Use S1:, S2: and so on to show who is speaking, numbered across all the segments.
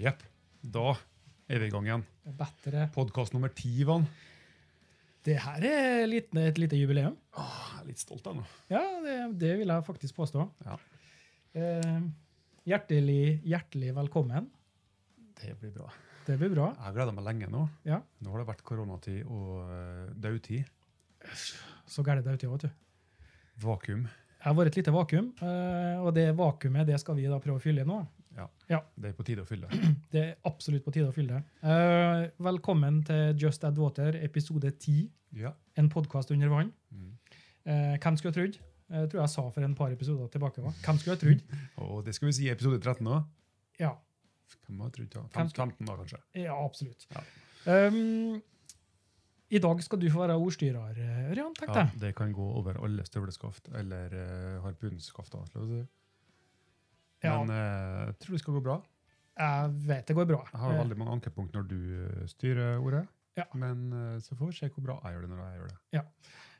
S1: Jepp. Da er vi i gang igjen.
S2: Bedre.
S1: Podkast nummer ti, Ivan.
S2: Det her er litt, et lite jubileum.
S1: Ah, Jeg er litt stolt av nå.
S2: Ja, det, det vil jeg faktisk påstå.
S1: Ja.
S2: Eh, hjertelig, hjertelig velkommen.
S1: Det blir bra.
S2: Det blir bra.
S1: Jeg har gleda meg lenge nå.
S2: Ja,
S1: Nå har det vært koronatid og uh, daudtid.
S2: Så gærent det er ute, ja, vet du.
S1: Vakuum.
S2: Jeg har vært et lite vakuum, eh, og det vakuumet det skal vi da prøve å fylle nå.
S1: Det er på tide å fylle.
S2: Det er absolutt på tide å fylle det. Eh, velkommen til Just Add Water, episode 10,
S1: Ja.
S2: en podkast under vann.
S1: Mm.
S2: Eh, hvem skulle ha trodd? Jeg tror jeg sa for en par episoder tilbake. hva? Hvem skulle ha trodd?
S1: Og det skal vi si i episode 13 òg.
S2: Ja,
S1: Hvem har trodd det?
S2: Hvem
S1: 15 da, kanskje.
S2: Ja, absolutt.
S1: Ja.
S2: Um, I dag skal du få være ordstyrer, Ørjan. Takk
S1: Ja,
S2: deg.
S1: det kan gå over alle støvleskaft eller uh, harpunskaft. da, la oss si.
S2: Ja.
S1: Men eh, jeg tror det skal gå bra.
S2: Jeg vet det går bra.
S1: Jeg har
S2: Eh,
S1: veldig mange ankepunkt når du eh, styrer ordet.
S2: Ja.
S1: Men eh, så får vi se hvor bra jeg gjør det når jeg gjør det.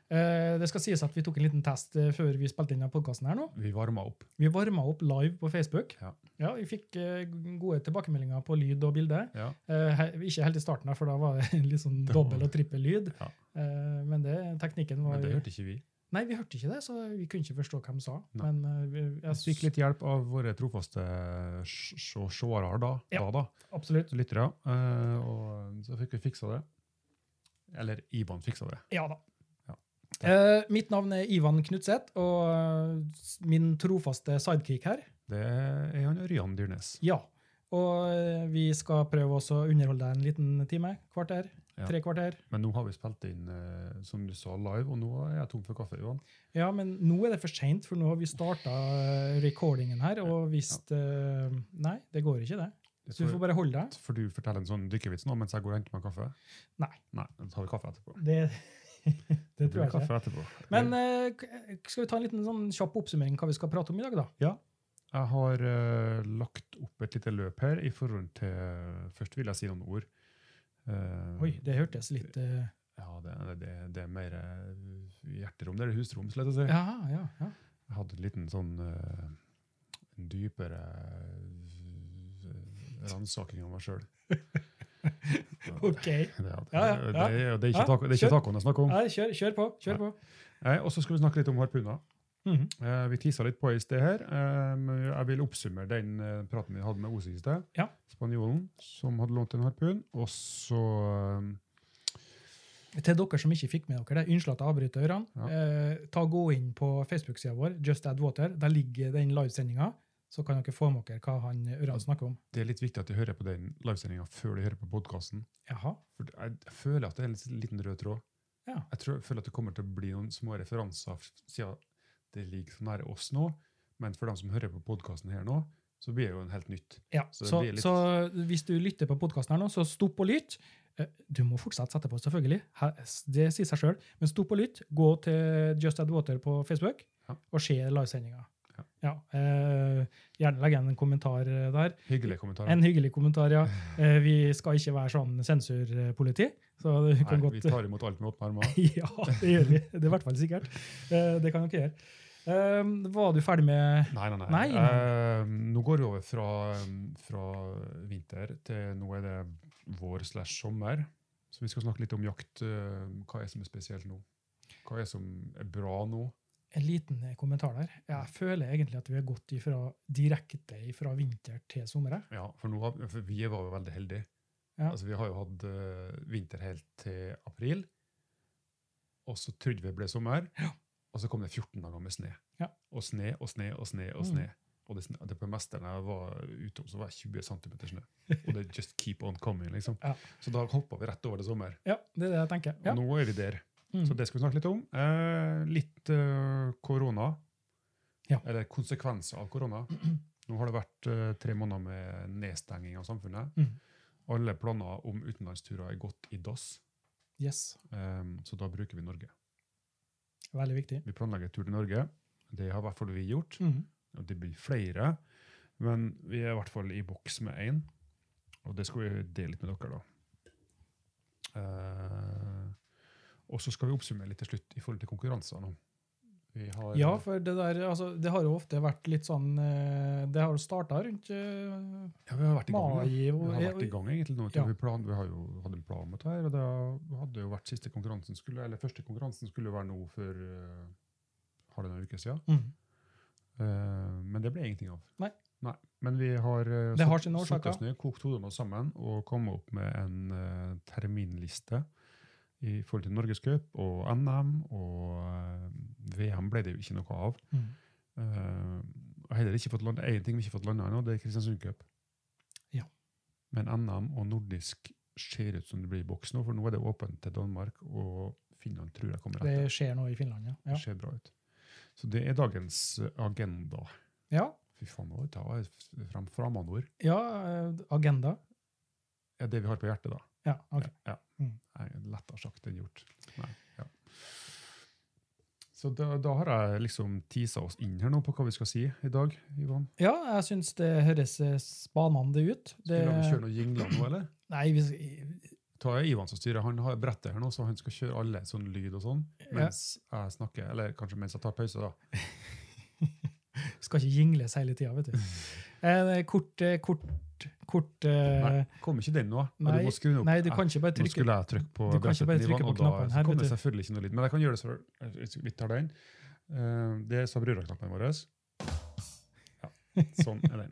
S2: eh, det skal sies at vi tok en liten test eh, før vi spilte inn denne podkasten her nå.
S1: Vi varmer opp.
S2: Vi varma opp live på Facebook.
S1: Ja.
S2: vi fikk eh, gode tilbakemeldinger på lyd og bilde.
S1: Ja.
S2: Eh, he- ikke helt i starten, her, for da var det litt sånn
S1: Det var-
S2: dobbel og trippel lyd.
S1: Ja.
S2: Eh, men det, teknikken var
S1: Men det hørte ikke vi.
S2: Nei, vi hørte ikke det, så vi kunne ikke forstå hva de sa.
S1: Nei.
S2: Men eh, vi- jeg
S1: Jeg fikk litt hjelp av våre trofaste sj- sj- seere da,
S2: Ja.
S1: da, da, altså
S2: Absolutt.
S1: lyttere. eh, Og så fikk vi fiksa det. Eller Ivan fiksa det.
S2: Ja da.
S1: Ja.
S2: Eh, mitt navn er Ivan Knutseth, og eh, s- min trofaste sidekick her.
S1: Det er han Ørjan Dyrnes.
S2: Ja. Og eh, vi skal prøve også å underholde deg en liten time. Kvarter.
S1: Ja.
S2: Tre kvarter.
S1: Men nå har vi spilt inn eh, som du sa, live, og nå er jeg tom for kaffe. Johan.
S2: Ja, men nå er det for seint, for nå har vi starta recordingen her, og hvis eh, Nei, det går ikke, det.
S1: Det
S2: Så du
S1: får-
S2: får bare holde deg.
S1: Får du fortelle en sånn dykkervits nå mens jeg går og henter meg kaffe?
S2: Nei.
S1: Nei, Da tar vi kaffe etterpå.
S2: Det, det tror
S1: blir
S2: jeg ikke.
S1: kaffe etterpå.
S2: Men eh, k- skal vi ta en liten sånn kjapp oppsummering hva vi skal prate om i dag, da?
S1: Jeg har eh, lagt opp et lite løp her i forhold til eh, Først vil jeg si noen ord. Eh,
S2: Oi, det hørtes litt eh,
S1: Ja, det, det, det er mer eh, hjerterom. Det er husrom, slett å si.
S2: Ja, ja, ja.
S1: Jeg hadde en liten sånn eh, en dypere eh, ransaking av meg sjøl.
S2: OK.
S1: Det, det, det,
S2: Ja, ja, ja.
S1: er- og det er
S2: Ja,
S1: ikke taco- det er
S2: kjør.
S1: ikke tacoen jeg snakker om.
S2: Nei, kjør, kjør på. Kjør på.
S1: Nei, Og så skal vi snakke litt om harpuner.
S2: Mhm.
S1: Eh, Vi tisa litt på i sted her. eh, men Jeg vil oppsummere den eh, praten vi hadde med Osi i sted.
S2: Ja.
S1: Spanjolen som hadde lånt en harpun. Og så eh,
S2: Til dere som ikke fikk med dere det, unnskyld at jeg avbryter ørene.
S1: Ja.
S2: Eh, ta Gå inn på Facebook-sida vår, Just Add Water. Der ligger den livesendinga. Så kan dere få med dere hva han Ørjan snakker om.
S1: Det er litt viktig at de hører på den livesendinga før de hører på podkasten.
S2: Jaha.
S1: For jeg jeg føler at det er en litt- liten rød tråd.
S2: Ja.
S1: Jeg tror, føler at det kommer til å bli noen små referanser f- siden det ligger så nære oss nå. Men for dem som hører på podkasten her nå, så blir det jo en helt nytt.
S2: Ja,
S1: Så
S2: så,
S1: det
S2: så,
S1: blir litt-
S2: hvis du lytter på podkasten her nå, så stopp og lytt. Eh, Du må fortsatt sette på, selvfølgelig. Her- Det sier seg sjøl. Men stopp og lytt. Gå til Just Add Water på Facebook
S1: Ja.
S2: og se livesendinga.
S1: Ja.
S2: Ja, eh, gjerne legg igjen en kommentar eh, der.
S1: Hyggelige kommentarer.
S2: En hyggelig kommentar, ja. Eh, Vi skal ikke være sånn sensurpoliti, så du kan
S1: Nei, vi
S2: godt
S1: tar imot alt med åpne armer.
S2: Ja, det gjør vi. Det er i hvert fall sikkert. Eh, Det kan dere gjøre. Eh, Var du ferdig med
S1: Nei, nei, nei.
S2: Nei, nei.
S1: Eh, nå går vi over fra, um, fra vinter til nå er det vår slash sommer. Så vi skal snakke litt om jakt. eh, Hva er det som er spesielt nå? Hva er det som er bra nå?
S2: en liten kommentar der? Jeg føler egentlig at vi har gått ifra, direkte fra vinter til sommer. jeg.
S1: Ja, for, nå har, for vi var jo veldig heldige.
S2: Ja.
S1: Altså, vi har jo hatt eh, vinter helt til april, og så trodde vi det ble sommer, og så kom det 14 dager med snø.
S2: Ja.
S1: Og snø og snø og snø og
S2: Mm.
S1: snø. Og det, sn- det på mesteren jeg var ute om, så var det 20 cm snø. Og det just keep on coming, liksom.
S2: Ja.
S1: Så da hoppa vi rett over til sommer.
S2: Ja, det er det jeg tenker.
S1: Og
S2: Ja.
S1: nå er vi der.
S2: Mm.
S1: Så det skal vi snakke litt om. Eh, litt eh, korona.
S2: Ja.
S1: Eller konsekvenser av korona. Nå har det vært eh, tre måneder med nedstenging av samfunnet.
S2: Mm.
S1: Alle planer om utenlandsturer er gått i dass,
S2: Yes,
S1: eh, så da bruker vi Norge.
S2: veldig viktig.
S1: Vi planlegger tur til Norge. Det har i hvert fall vi gjort.
S2: Mm.
S1: Og det blir flere. Men vi er i hvert fall i boks med én, og det skal vi dele litt med dere, da. Eh, og så skal vi oppsummere litt til slutt i forhold til konkurranser nå. Vi har,
S2: Ja, for det der, altså, det har jo ofte vært litt sånn eh, Det har jo starta rundt eh,
S1: ja, vi har vært i gang. da.
S2: mai og
S1: Vi har vært i gang egentlig nå. til
S2: Ja.
S1: Vi, plan, vi har jo hatt en plan med det her, og det hadde jo vært siste konkurransen skulle, eller første konkurransen skulle jo være nå for uh, halvannen uke siden.
S2: Mm.
S1: Eh, men det ble ingenting av.
S2: Nei.
S1: Men vi har, eh,
S2: Det har
S1: satt-
S2: sine
S1: satt
S2: årsaker.
S1: oss ned, kokt hodene sammen og kommet opp med en eh, terminliste i forhold til Norgescup og NM, og eh, VM ble det jo ikke noe av.
S2: Mm.
S1: Eh, og heller ikke fått landet, en ting vi ikke har fått landet nå, det er Kristiansund Cup.
S2: Ja.
S1: Men NM og nordisk ser ut som det blir i boks nå, for nå er det åpent til Danmark, og Finland tror jeg kommer
S2: Det
S1: etter.
S2: skjer nå i Finland, ja.
S1: Det
S2: ja.
S1: ser bra ut. Så det er dagens eh, agenda.
S2: ja.
S1: Fy faen, nå tar jeg f- fram framandord.
S2: Ja, eh, agenda.
S1: Ja, det vi har på hjertet, da.
S2: Ja, ok.
S1: Ja. ja.
S2: Mm.
S1: Nei, Lettere sagt enn gjort. Nei, ja. Så da, da har jeg liksom tisa oss inn her nå på hva vi skal si i dag, Ivan.
S2: Ja, jeg syns det høres eh, spanende ut.
S1: Skal
S2: Det,
S1: vi kjøre noen jingler nå, eller?
S2: nei, vi, skal-
S1: Ta Ivan som styrer. Han har brettet her nå, så han skal kjøre alle sånn lyd og sånn. Mens jeg snakker, eller kanskje mens jeg tar pause, da.
S2: skal ikke jingles hele tida, vet du. Eh, kort, eh, kort, kort eh,
S1: Nei, kom ikke den nå. Ja,
S2: nei,
S1: du må skru den opp.
S2: Nei, du kan ikke bare
S1: Nå
S2: trykke
S1: skulle jeg trykke på
S2: Du kan ikke bare
S1: brettet til
S2: trykke
S1: Ivan,
S2: på
S1: og da
S2: knappene her,
S1: så kom det
S2: vet du.
S1: selvfølgelig ikke noe lyd. Men jeg kan gjøre det så jeg- vi tar den. Eh, det er Sabrura-knappen vår. Ja, sånn er den.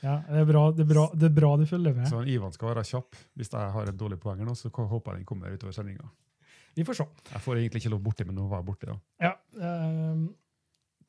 S2: Ja, det er, bra, det, er bra, det er bra du følger med.
S1: Så Ivan skal være kjapp. Hvis jeg har et dårlig poeng her nå, så håper jeg den kommer utover sendinga.
S2: Vi får se.
S1: Jeg får egentlig ikke lov borti, men nå var jeg borti, da.
S2: Ja, ehm,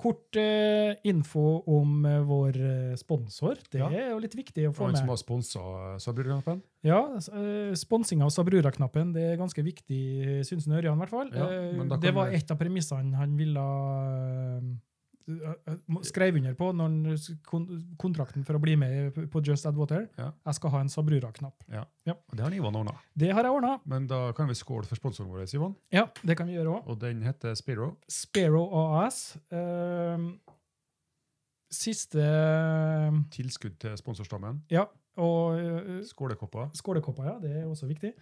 S2: kort eh, info om eh, vår eh, sponsor. Det
S1: Ja.
S2: er jo litt viktig å
S1: Og
S2: få
S1: han som
S2: med.
S1: har sponsa Sabrura-knappen.
S2: Ja, uh, Sponsing av Sabrura-knappen det er ganske viktig, eh, syns han Ørjan i hvert fall.
S1: Ja,
S2: Eh,
S1: men da kan
S2: det var
S1: vi-
S2: et av premissene han ville eh, eh, må- skrev under på når han s- kon kontrakten for å bli med på Just Add Water.
S1: Ja.
S2: Jeg skal ha en Sabrura-knapp.
S1: Og det har Ivan ordna.
S2: Det har jeg ordna.
S1: Men da kan vi skåle for sponsoren vår, Ivan.
S2: Ja, det kan vi gjøre òg.
S1: Og den heter Spiro.
S2: Sparrow AS. ehm, siste ehm,
S1: Tilskudd til sponsorstammen.
S2: Ja, og eh,
S1: Skålekopper.
S2: skålekopper, ja. Det er også viktig.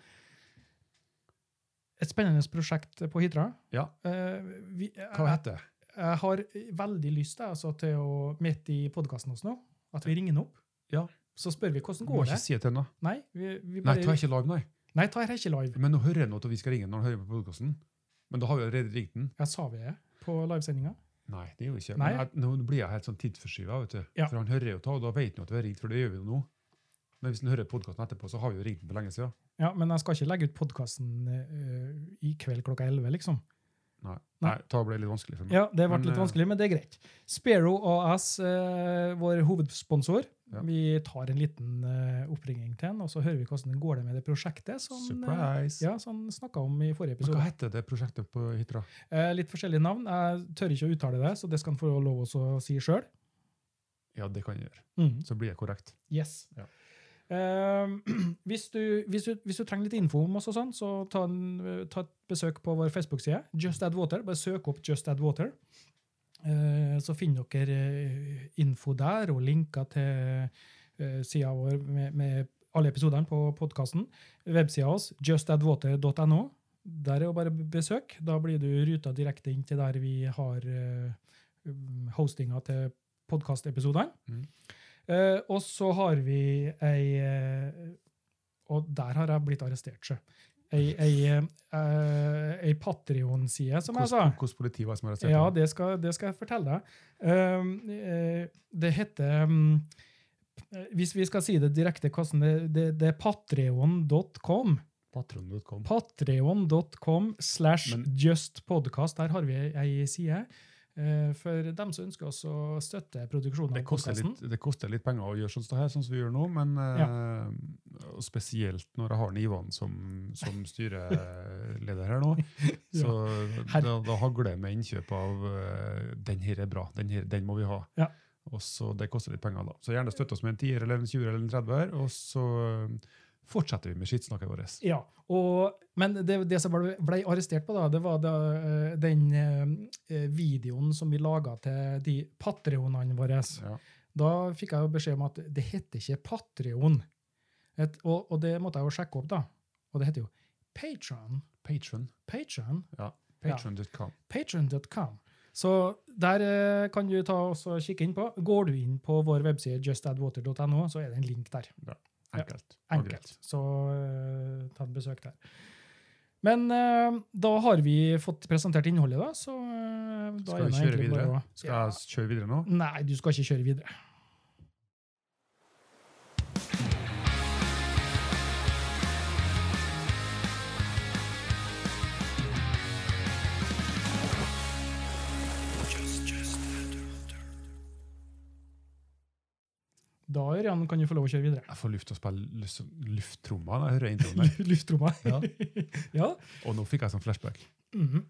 S2: Et spennende prosjekt på Hitra.
S1: Ja.
S2: Eh, vi, jeg,
S1: Hva heter det?
S2: jeg har veldig lyst jeg, altså, til å, midt i podkasten oss nå, at vi ringer han opp.
S1: Ja.
S2: Så spør vi hvordan
S1: Du må
S2: går det.
S1: ikke si det til henne.
S2: Nei, vi, vi
S1: Nei,
S2: bare,
S1: ta ikke live, nei.
S2: Nei, ta her er ikke live.
S1: Men nå hører jeg nå at vi skal ringe når han hører på podkasten. Men da har vi allerede ringt den.
S2: Ja, sa vi det på livesendinga?
S1: Nei, det gjør vi ikke.
S2: Nei.
S1: Men jeg, nå blir jeg helt sånn tidsforskyva, vet du.
S2: Ja.
S1: For han hører jo ta, og da vet han jo at vi har ringt, for det gjør vi jo nå. Men hvis han hører podkasten etterpå, så har vi jo ringt den for lenge siden.
S2: Ja, men jeg skal ikke legge ut podkasten i kveld klokka 11, liksom.
S1: Nei,
S2: Nei.
S1: nei da ble det litt vanskelig for meg.
S2: Ja, det ble
S1: Men,
S2: litt
S1: eh,
S2: vanskelig, men det er greit. Sparrow AS, eh, vår hovedsponsor.
S1: Ja.
S2: Vi tar en liten eh, oppringning til han, og så hører vi hvordan det går det med det prosjektet som eh,
S1: Surprise!
S2: ja, som han snakka om i forrige
S1: Men
S2: episode.
S1: hva heter det prosjektet på Hitra?
S2: Eh, litt forskjellige navn. Jeg tør ikke å uttale det, så det skal han få lov også å si sjøl.
S1: Ja, det kan jeg gjøre.
S2: Mm.
S1: Så blir jeg korrekt.
S2: Yes.
S1: Ja.
S2: Eh, hvis, du, hvis, du, hvis du trenger litt info om oss, og sånn, så ta, en, ta et besøk på vår Facebook-side. Just Add Water. Bare søk opp Just Add Water. Eh, så finner dere eh, info der og linker til eh, sida vår med, med alle episodene på podkasten. Websida vår, justaddwater.no. Der er jo bare besøk. Da blir du ruta direkte inn til der vi har eh, hostinga til podkastepisodene.
S1: Mhm.
S2: Eh, og så har vi ei eh, Og der har jeg blitt arrestert, sjø. Ei, ei, eh, eh, ei Patrion-side, som jeg sa.
S1: Hvordan hvordan politi var det som arresterte
S2: Ja,
S1: deg?
S2: det skal, det skal jeg fortelle deg. Um, eh, det heter um, eh, Hvis vi skal si det direkte, hvordan det, det, det er patreon.com.
S1: Patron.com.
S2: Patreon.com slash
S1: Men-
S2: justpodcast. Der har vi ei side. eh, for dem som ønsker oss å støtte produksjonen
S1: Det
S2: av
S1: koster,
S2: podkasten.
S1: litt, det koster litt penger å gjøre sånn som det her, sånn som vi gjør nå, men eh, og spesielt når jeg har en Ivan som, som styreleder her nå, så
S2: Her-
S1: da, da hagler det med innkjøp av eh, den her er bra, den, her, den må vi ha.
S2: Ja.
S1: Og så Det koster litt penger, da. Så gjerne støtt oss med en 10-er eller en 20-er eller en 30-er, og så eh, fortsetter vi med skittsnakket vårt.
S2: Ja, og, men det, det som ble, ble arrestert på, da, det var da, eh, den eh, videoen som vi laga til de patreonene våre.
S1: Ja.
S2: Da fikk jeg jo beskjed om at det heter ikke Patreon. Et, og, og det måtte jeg jo sjekke opp, da. Og det heter jo Patron.
S1: Patron.
S2: Patron.
S1: Patron.com.
S2: Patron.com. Så der eh, kan du ta og så kikke inn på. Går du inn på vår webside justaddwater.no, så er det en link der. Ja,
S1: Enkelt. og greit.
S2: Enkelt. Så eh, ta en besøk der. Men eh, da har vi fått presentert innholdet, da. Så eh, da
S1: Skal vi
S2: er det
S1: kjøre
S2: egentlig bare
S1: videre?
S2: å-
S1: Skal jeg s- kjøre videre nå?
S2: Nei, du skal ikke kjøre videre. Da Ørjan, kan du få lov å kjøre videre.
S1: Jeg får lyst til å spille lyst- lufttromma når jeg hører introen der.
S2: Luftrommet.
S1: Ja.
S2: ja.
S1: Og nå fikk jeg sånn flashback.
S2: Mhm.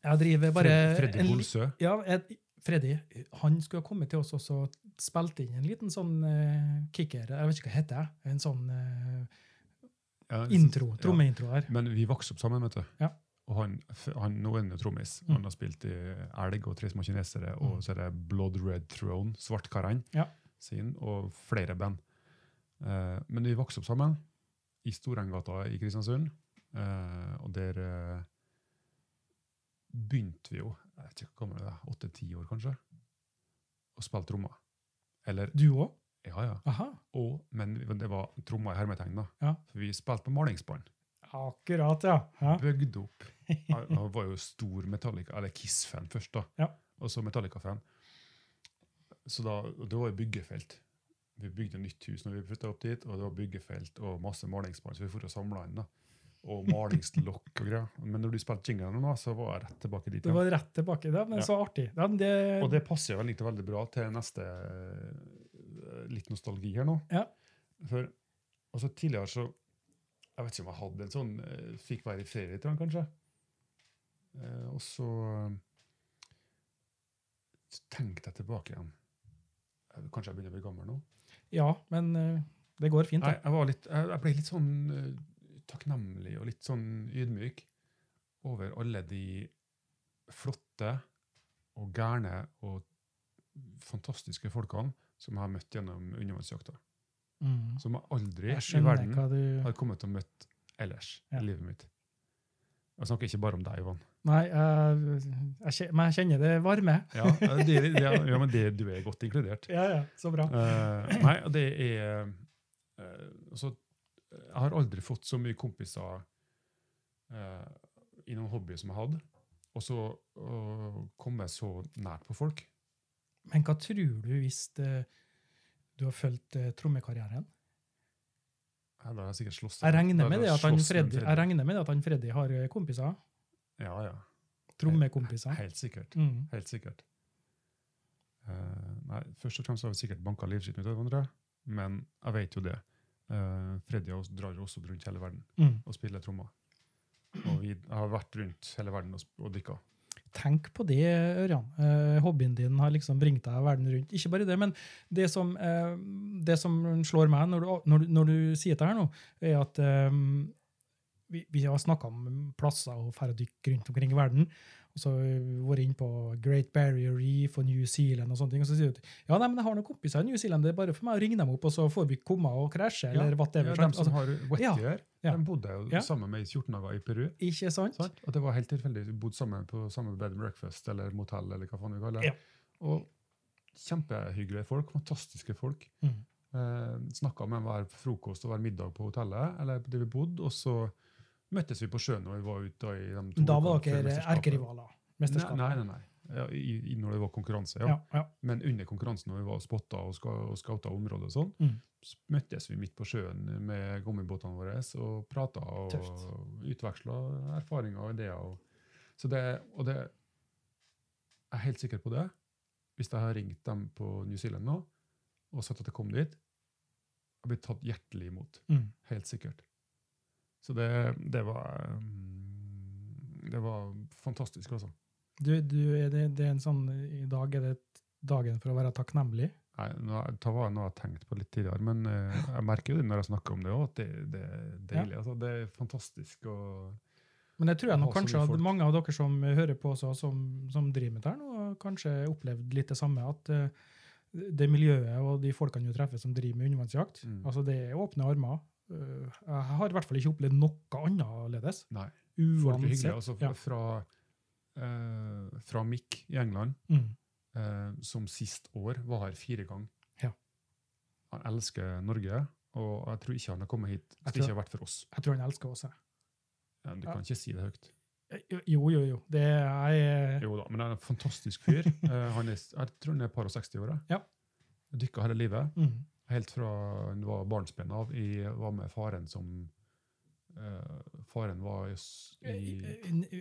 S2: Jeg driver bare
S1: Fred- Freddy
S2: en li-
S1: Bolsø.
S2: Ja, jeg, Freddy han skulle ha kommet til oss og så spilt inn en liten sånn eh, kicker. Jeg vet ikke hva det heter. jeg, En sånn eh,
S1: Ja,
S2: intro.
S1: ja.
S2: Trommeintro her.
S1: Men vi vokste opp sammen, vet du.
S2: Ja.
S1: Og han, f- han, nå er han jo trommis.
S2: Mm.
S1: Han har spilt i Elg og Tre små kinesere,
S2: Mm.
S1: og så er det Blood Red Throne, Svartkarene
S2: Ja.
S1: sin, og flere band. Eh, men vi vokste opp sammen i Storengata i Kristiansund, eh, og der eh, begynte vi jo, jeg vet ikke hvor gammel det er, åtte-ti år kanskje, å spille trommer. Eller,
S2: Du òg?
S1: ja, ja.
S2: Aha.
S1: Og, men det var trommer i hermetegn da.
S2: Ja.
S1: For vi spilte på malingsbånd
S2: Akkurat, ja. ja.
S1: bygd opp. Han han var jo stor Metallica, eller Kiss-fan først, da.
S2: Ja.
S1: Og så Metallica-fan. Så da, og Det var jo byggefelt. Vi bygde nytt hus når vi flytta opp dit, og det var byggefelt og masse malingsbånd, så vi for og samla inn. da. Og malingslokk og greier. Men når du spilte jinglene nå, så var jeg rett tilbake dit.
S2: Du
S1: igjen.
S2: var rett tilbake. Ja, men
S1: Ja.
S2: så artig. Ja, men det,
S1: Og det passer vel egentlig veldig bra til neste eh, litt nostalgi her nå.
S2: Ja.
S1: For altså, tidligere så Jeg vet ikke om jeg hadde en sånn eh, Fikk være i ferie litt, kanskje. Eh, og så eh, så tenkte jeg tilbake igjen. Eh, Kanskje jeg begynner å bli gammel nå?
S2: ja, men eh, det går fint.
S1: Nei,
S2: da.
S1: jeg, var litt, jeg, jeg ble litt sånn eh, takknemlig og litt sånn ydmyk over alle de flotte og gærne og fantastiske folkene som jeg har møtt gjennom undervannsjakta.
S2: Mm.
S1: Som jeg aldri
S2: Jeg
S1: i
S2: skjønner
S1: verden
S2: hva du
S1: har kommet til å møte ellers
S2: Ja.
S1: i livet mitt. Jeg snakker ikke bare om deg, Ivan.
S2: Nei, jeg, jeg, kje- men jeg kjenner det varme.
S1: Ja, det, det, ja men det, du er godt inkludert.
S2: Ja, ja, så bra.
S1: Eh, nei, og det er eh, altså, Jeg har aldri fått så mye kompiser eh, i noen hobby som jeg hadde. Og så å komme så nært på folk.
S2: Men hva tror du hvis eh, du har fulgt eh, trommekarrieren?
S1: Ja, da har jeg sikkert slåss.
S2: Jeg regner, med
S1: da
S2: det
S1: har
S2: at han
S1: slåss med
S2: Freddy, jeg regner med det at han Freddy har eh, kompiser.
S1: Ja, ja.
S2: Trommekompiser.
S1: Helt sikkert.
S2: Mm.
S1: Helt sikkert. Eh, nei, først og fremst har vi sikkert banka livskiten ut av hverandre, men jeg vet jo det. Eh, Freddy og oss drar jo også rundt hele verden
S2: Mm.
S1: og spiller trommer. Og vi har vært rundt hele verden og, sp- og dykka.
S2: Tenk på det, Ørjan. Eh, hobbyen din har liksom bringt deg verden rundt. Ikke bare det, men det som, eh, det som slår meg når du, når, du- når du sier det her nå, er at eh, vi, vi har snakka om plasser og færre dykk rundt omkring i verden. Og så har vi vært inne på Great Barrier Reef og New Zealand og sånne ting. Og så sier du at ja, nei, men jeg har noen kompiser i New Zealand, det er bare for meg å ringe dem opp, og så får vi komme og krasje, eller whatever.
S1: Ja,
S2: sant?
S1: de som
S2: Altså,
S1: har Wetty
S2: ja,
S1: her,
S2: ja.
S1: de bodde jo
S2: Ja.
S1: sammen med i 14 dager i Peru.
S2: ikke sant?
S1: Sant? Og det var helt tilfeldig. Vi bodde sammen på samme bed and breakfast eller motell. eller hva faen vi kaller det.
S2: Ja.
S1: Og kjempehyggelige folk. Fantastiske folk.
S2: Mm.
S1: Eh, Snakka med hver frokost og hver middag på hotellet, eller der vi bodde. Og så møttes vi på sjøen når vi var ute. da i de to
S2: Da var
S1: ukene før
S2: dere
S1: mesterskapet.
S2: erkerivaler.
S1: Nei,
S2: Mesterskapet.
S1: nei, nei. nei. Ja, i, i, når det var konkurranse, ja.
S2: Ja, ja.
S1: Men under konkurransen, når vi var og spotta og, ska, og scouta området, og sånn,
S2: Mm.
S1: så møttes vi midt på sjøen med gummibåtene våre og prata og
S2: Tøft.
S1: utveksla erfaringer og ideer. Og, så det, og det Jeg er helt sikker på det. Hvis jeg har ringt dem på New Zealand nå og sagt at jeg kom dit, jeg blir tatt hjertelig imot.
S2: Mm.
S1: Helt sikkert. Så det, det var mm, Det var fantastisk, altså.
S2: Du, du, er det, det er en sånn, I dag er det dagen for å være takknemlig.
S1: Nei, nå, det var noe jeg tenkte på litt tidligere, men eh, jeg merker jo det når jeg snakker om det òg, at det, det er deilig. Altså, det er fantastisk. Og,
S2: Men jeg tror jeg nok
S1: Ha så mye
S2: kanskje at
S1: folk.
S2: mange av dere som hører på også, som, som driver med det her nå, kanskje opplevd litt det samme. At eh, det miljøet og de folkene du treffer som driver med undervannsjakt,
S1: Mm.
S2: altså det er åpne armer. Eh, Jeg har i hvert fall ikke opplevd noe annerledes.
S1: Nei, folk er hyggelige.
S2: Uansett.
S1: Altså,
S2: ja.
S1: fra, eh, eh, fra Mick i England,
S2: Mm.
S1: eh, som sist år var her fire ganger.
S2: Ja.
S1: Han elsker Norge, og jeg tror ikke han har kommet hit hvis
S2: Jeg
S1: det
S2: tror-
S1: ikke har vært for oss.
S2: Jeg tror han elsker oss. jeg.
S1: Ja, Du
S2: Ja.
S1: kan ikke si det høyt.
S2: Jo, jo, jo. Det er jeg,
S1: Jo da, men han er en fantastisk fyr. Eh, han er, jeg tror han er et par og 60 år.
S2: Ja.
S1: Dykka hele livet.
S2: mm.
S1: Helt fra han var barnsben av. Jeg var med faren som eh, Faren var i, s- i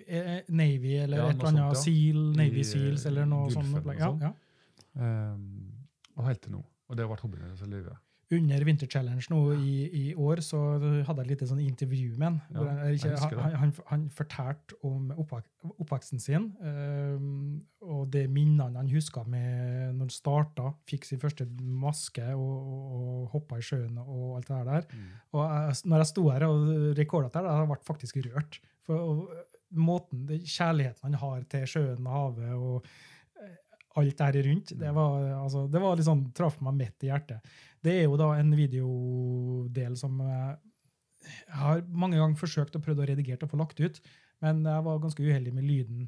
S2: Eh, Navy eller
S1: Ja,
S2: et
S1: noe
S2: eller annet
S1: sånt, ja.
S2: Seal, Navy
S1: I, eh,
S2: Seals eller noe
S1: Gulfen
S2: sånt.
S1: og
S2: opplegg. Ja,
S1: sånn.
S2: ja.
S1: ehm, Og helt til nå. Og det har vært hobbyen hennes hele livet.
S2: Under Winter Challenge nå i, i år så hadde jeg et lite sånn intervju med han.
S1: Ja,
S2: hvor han, eller
S1: jeg husker
S2: ikke,
S1: det.
S2: han, han, han fortalte om oppvak, oppveksten sin eh, og det minnene han huska med når han starta, fikk sin første maske og, og, og hoppa i sjøen og alt det der. Og jeg, altså, når jeg sto her og rekordet der, da, jeg ble faktisk rørt. For og, eh, måten, det, kjærligheten han har til sjøen og havet og eh, alt der rundt,
S1: Mm.
S2: det var, altså, det var litt sånn, traff meg midt i hjertet. Det er jo da en videodel som jeg jeg har mange ganger forsøkt og prøvd å redigere og få lagt ut, men jeg var ganske uheldig med lyden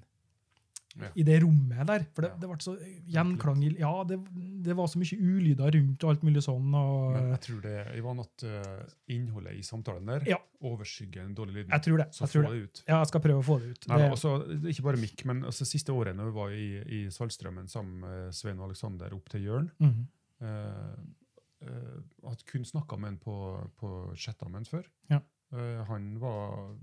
S1: Ja.
S2: i det rommet der, for det,
S1: Ja.
S2: det ble så gjenklang, i- ja, det, det var så mye ulyder rundt og alt mulig sånn, og
S1: Men jeg tror det jeg var at eh, innholdet i samtalen der
S2: Ja.
S1: overskygger den dårlige lyden.
S2: jeg tror det,
S1: Så
S2: jeg tror det.
S1: få det ut.
S2: Ja, jeg skal prøve å få det ut.
S1: Nei,
S2: det,
S1: men også, det er ikke bare Mikk, men altså, siste året når vi var i, i Saltstraumen sammen med Svein og Aleksander opp til Jørn,
S2: Mhm.
S1: eh, eh, hadde kun snakka med han på, på chatta med han før.
S2: Ja.
S1: Eh, han var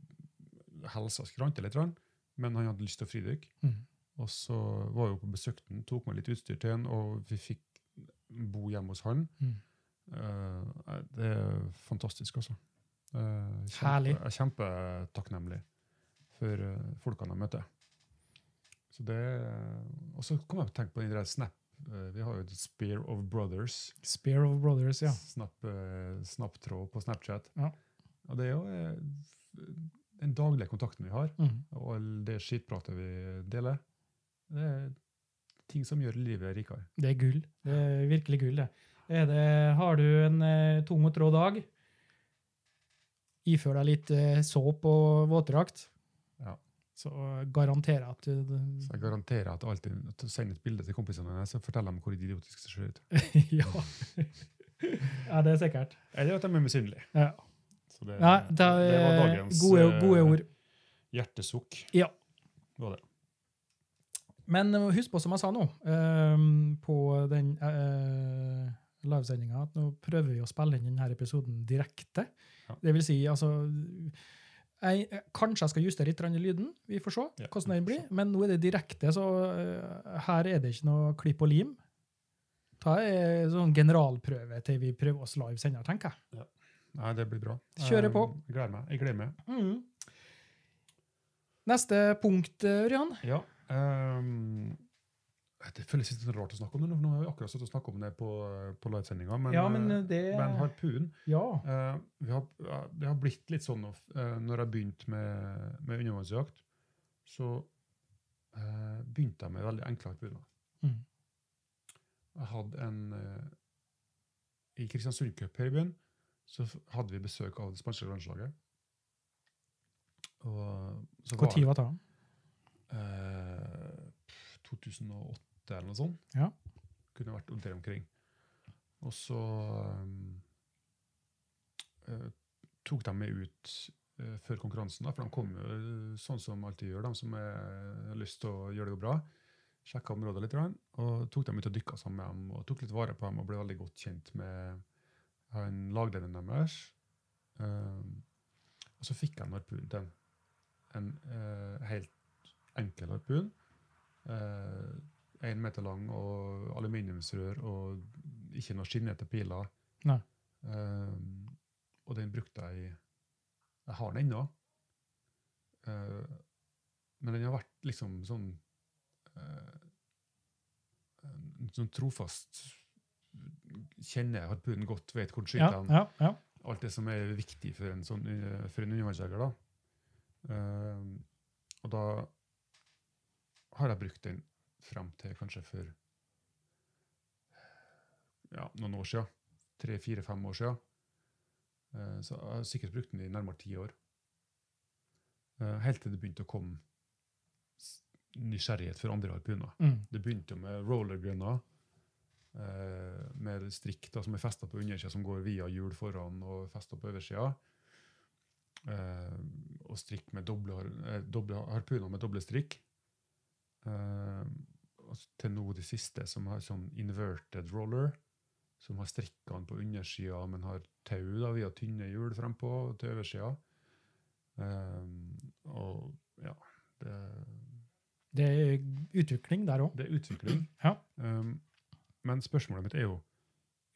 S1: helsa skrante litt, grann, men han hadde lyst til å fridykk.
S2: Mhm.
S1: Og så var jeg jo på besøk til han, tok med litt utstyr til han, og vi fikk bo hjemme hos han.
S2: Mhm.
S1: Eh, eh, det er fantastisk, altså. Eh,
S2: Herlig.
S1: Jeg er kjempetakknemlig for eh, folkene jeg møter. Så det, eh, og så kom jeg til å tenke på den der Snap. eh, Vi har jo et Spear of Brothers.
S2: Spear of Brothers, ja.
S1: Snap, eh, snapptråd på Snapchat.
S2: Ja.
S1: Og det er jo eh, den daglige kontakten vi har,
S2: Mhm.
S1: og all det skitpratet vi deler. Det er ting som gjør livet rikere.
S2: Det er gull. Det er virkelig gull, det. Er det har du en eh, tung og trå dag, ifør deg litt eh, såp og våtdrakt,
S1: Ja.
S2: så eh, garanterer jeg at du
S1: Så jeg garanterer at alltid at du sender et bilde til kompisene dine, så forteller de hvor idiotisk det ser ut.
S2: ja. ja, det er sikkert.
S1: Eller at de er misunnelige.
S2: Ja.
S1: Så Eh, det,
S2: Nei, det,
S1: det var
S2: er
S1: dagens
S2: gode, gode
S1: eh,
S2: ord.
S1: hjertesukk.
S2: Ja.
S1: Var det.
S2: Men eh, husk på, som jeg sa nå, eh, på den uh, livesendinga, at nå prøver vi å spille inn denne episoden direkte.
S1: Ja.
S2: Det vil si, altså jeg, eh, Kanskje jeg skal justere litt grann i lyden, vi får se
S1: Ja,
S2: hvordan
S1: vi får
S2: den blir. Men nå er det direkte, så eh, her er det ikke noe klipp og lim. Ta en sånn generalprøve til vi prøver oss live senere, tenker jeg.
S1: Nei, det blir bra.
S2: Kjører
S1: Eh,
S2: på.
S1: Jeg gleder meg. Jeg gleder meg.
S2: Neste punkt, eh, Ørjan.
S1: Ja. ehm, det føles litt rart å snakke om det, nå, for nå har vi akkurat satt og snakket om det på, på livesendinga. Men,
S2: Ja, men
S1: eh,
S2: eh, det
S1: men harpun
S2: Ja.
S1: eh, vi har, ja, Det har blitt litt sånn of- eh, når jeg begynte med, med undervannsjakt, så eh, begynte jeg med veldig enkle harpuner.
S2: Mm.
S1: Jeg hadde en eh, I Kristiansund Cup her i byen så f- hadde vi besøk av det spanske landslaget. Og så var
S2: Når
S1: jeg-
S2: var det?
S1: eh, 2008 eller noe sånt.
S2: Ja.
S1: Kunne vært der omkring. Og så um, eh, tok de meg ut eh, før konkurransen, da, for de kom jo eh, sånn som alltid gjør, de som er, har lyst til å gjøre det bra. Sjekka området litt, grann, og tok dem ut og dykka sammen med dem. og Tok litt vare på dem og ble veldig godt kjent med han laglederen deres. Um, og så fikk jeg en harpun til dem. En eh, helt enkel harpun. Én meter lang og aluminiumsrør og ikke noe skinnete piler.
S2: Nei.
S1: Eh, og den brukte jeg i Jeg har den ennå. Eh, men den har vært liksom sånn eh, en sånn trofast Kjenner harpunen godt, vet hvor den skyter.
S2: Ja,
S1: den
S2: ja, ja.
S1: alt det som er viktig for en, sånn, eh, for en undervannsjeger. Da. Ehm, og da har jeg brukt den frem til kanskje for ja, noen år siden. Tre, fire, fem år siden. Eh, så jeg har sikkert brukt den i nærmere ti år. Eh, helt til det begynte å komme s- nysgjerrighet for andre harpuner.
S2: Mm.
S1: Det begynte jo med rollergunner, eh, med strikk da, som er festa på undersida, som går via hjul foran og festa på oversida. Eh, og strikk med doble, har- eh, doble harpuner med doble strikk. Eh, og s- til nå de siste, som har sånn inverted roller, som har strikkene på undersida, men har tau da, via tynne hjul frempå til oversida. Eh, og ja det,
S2: Det er utvikling der òg.
S1: det er utvikling.
S2: Ja.
S1: Um, men spørsmålet mitt er jo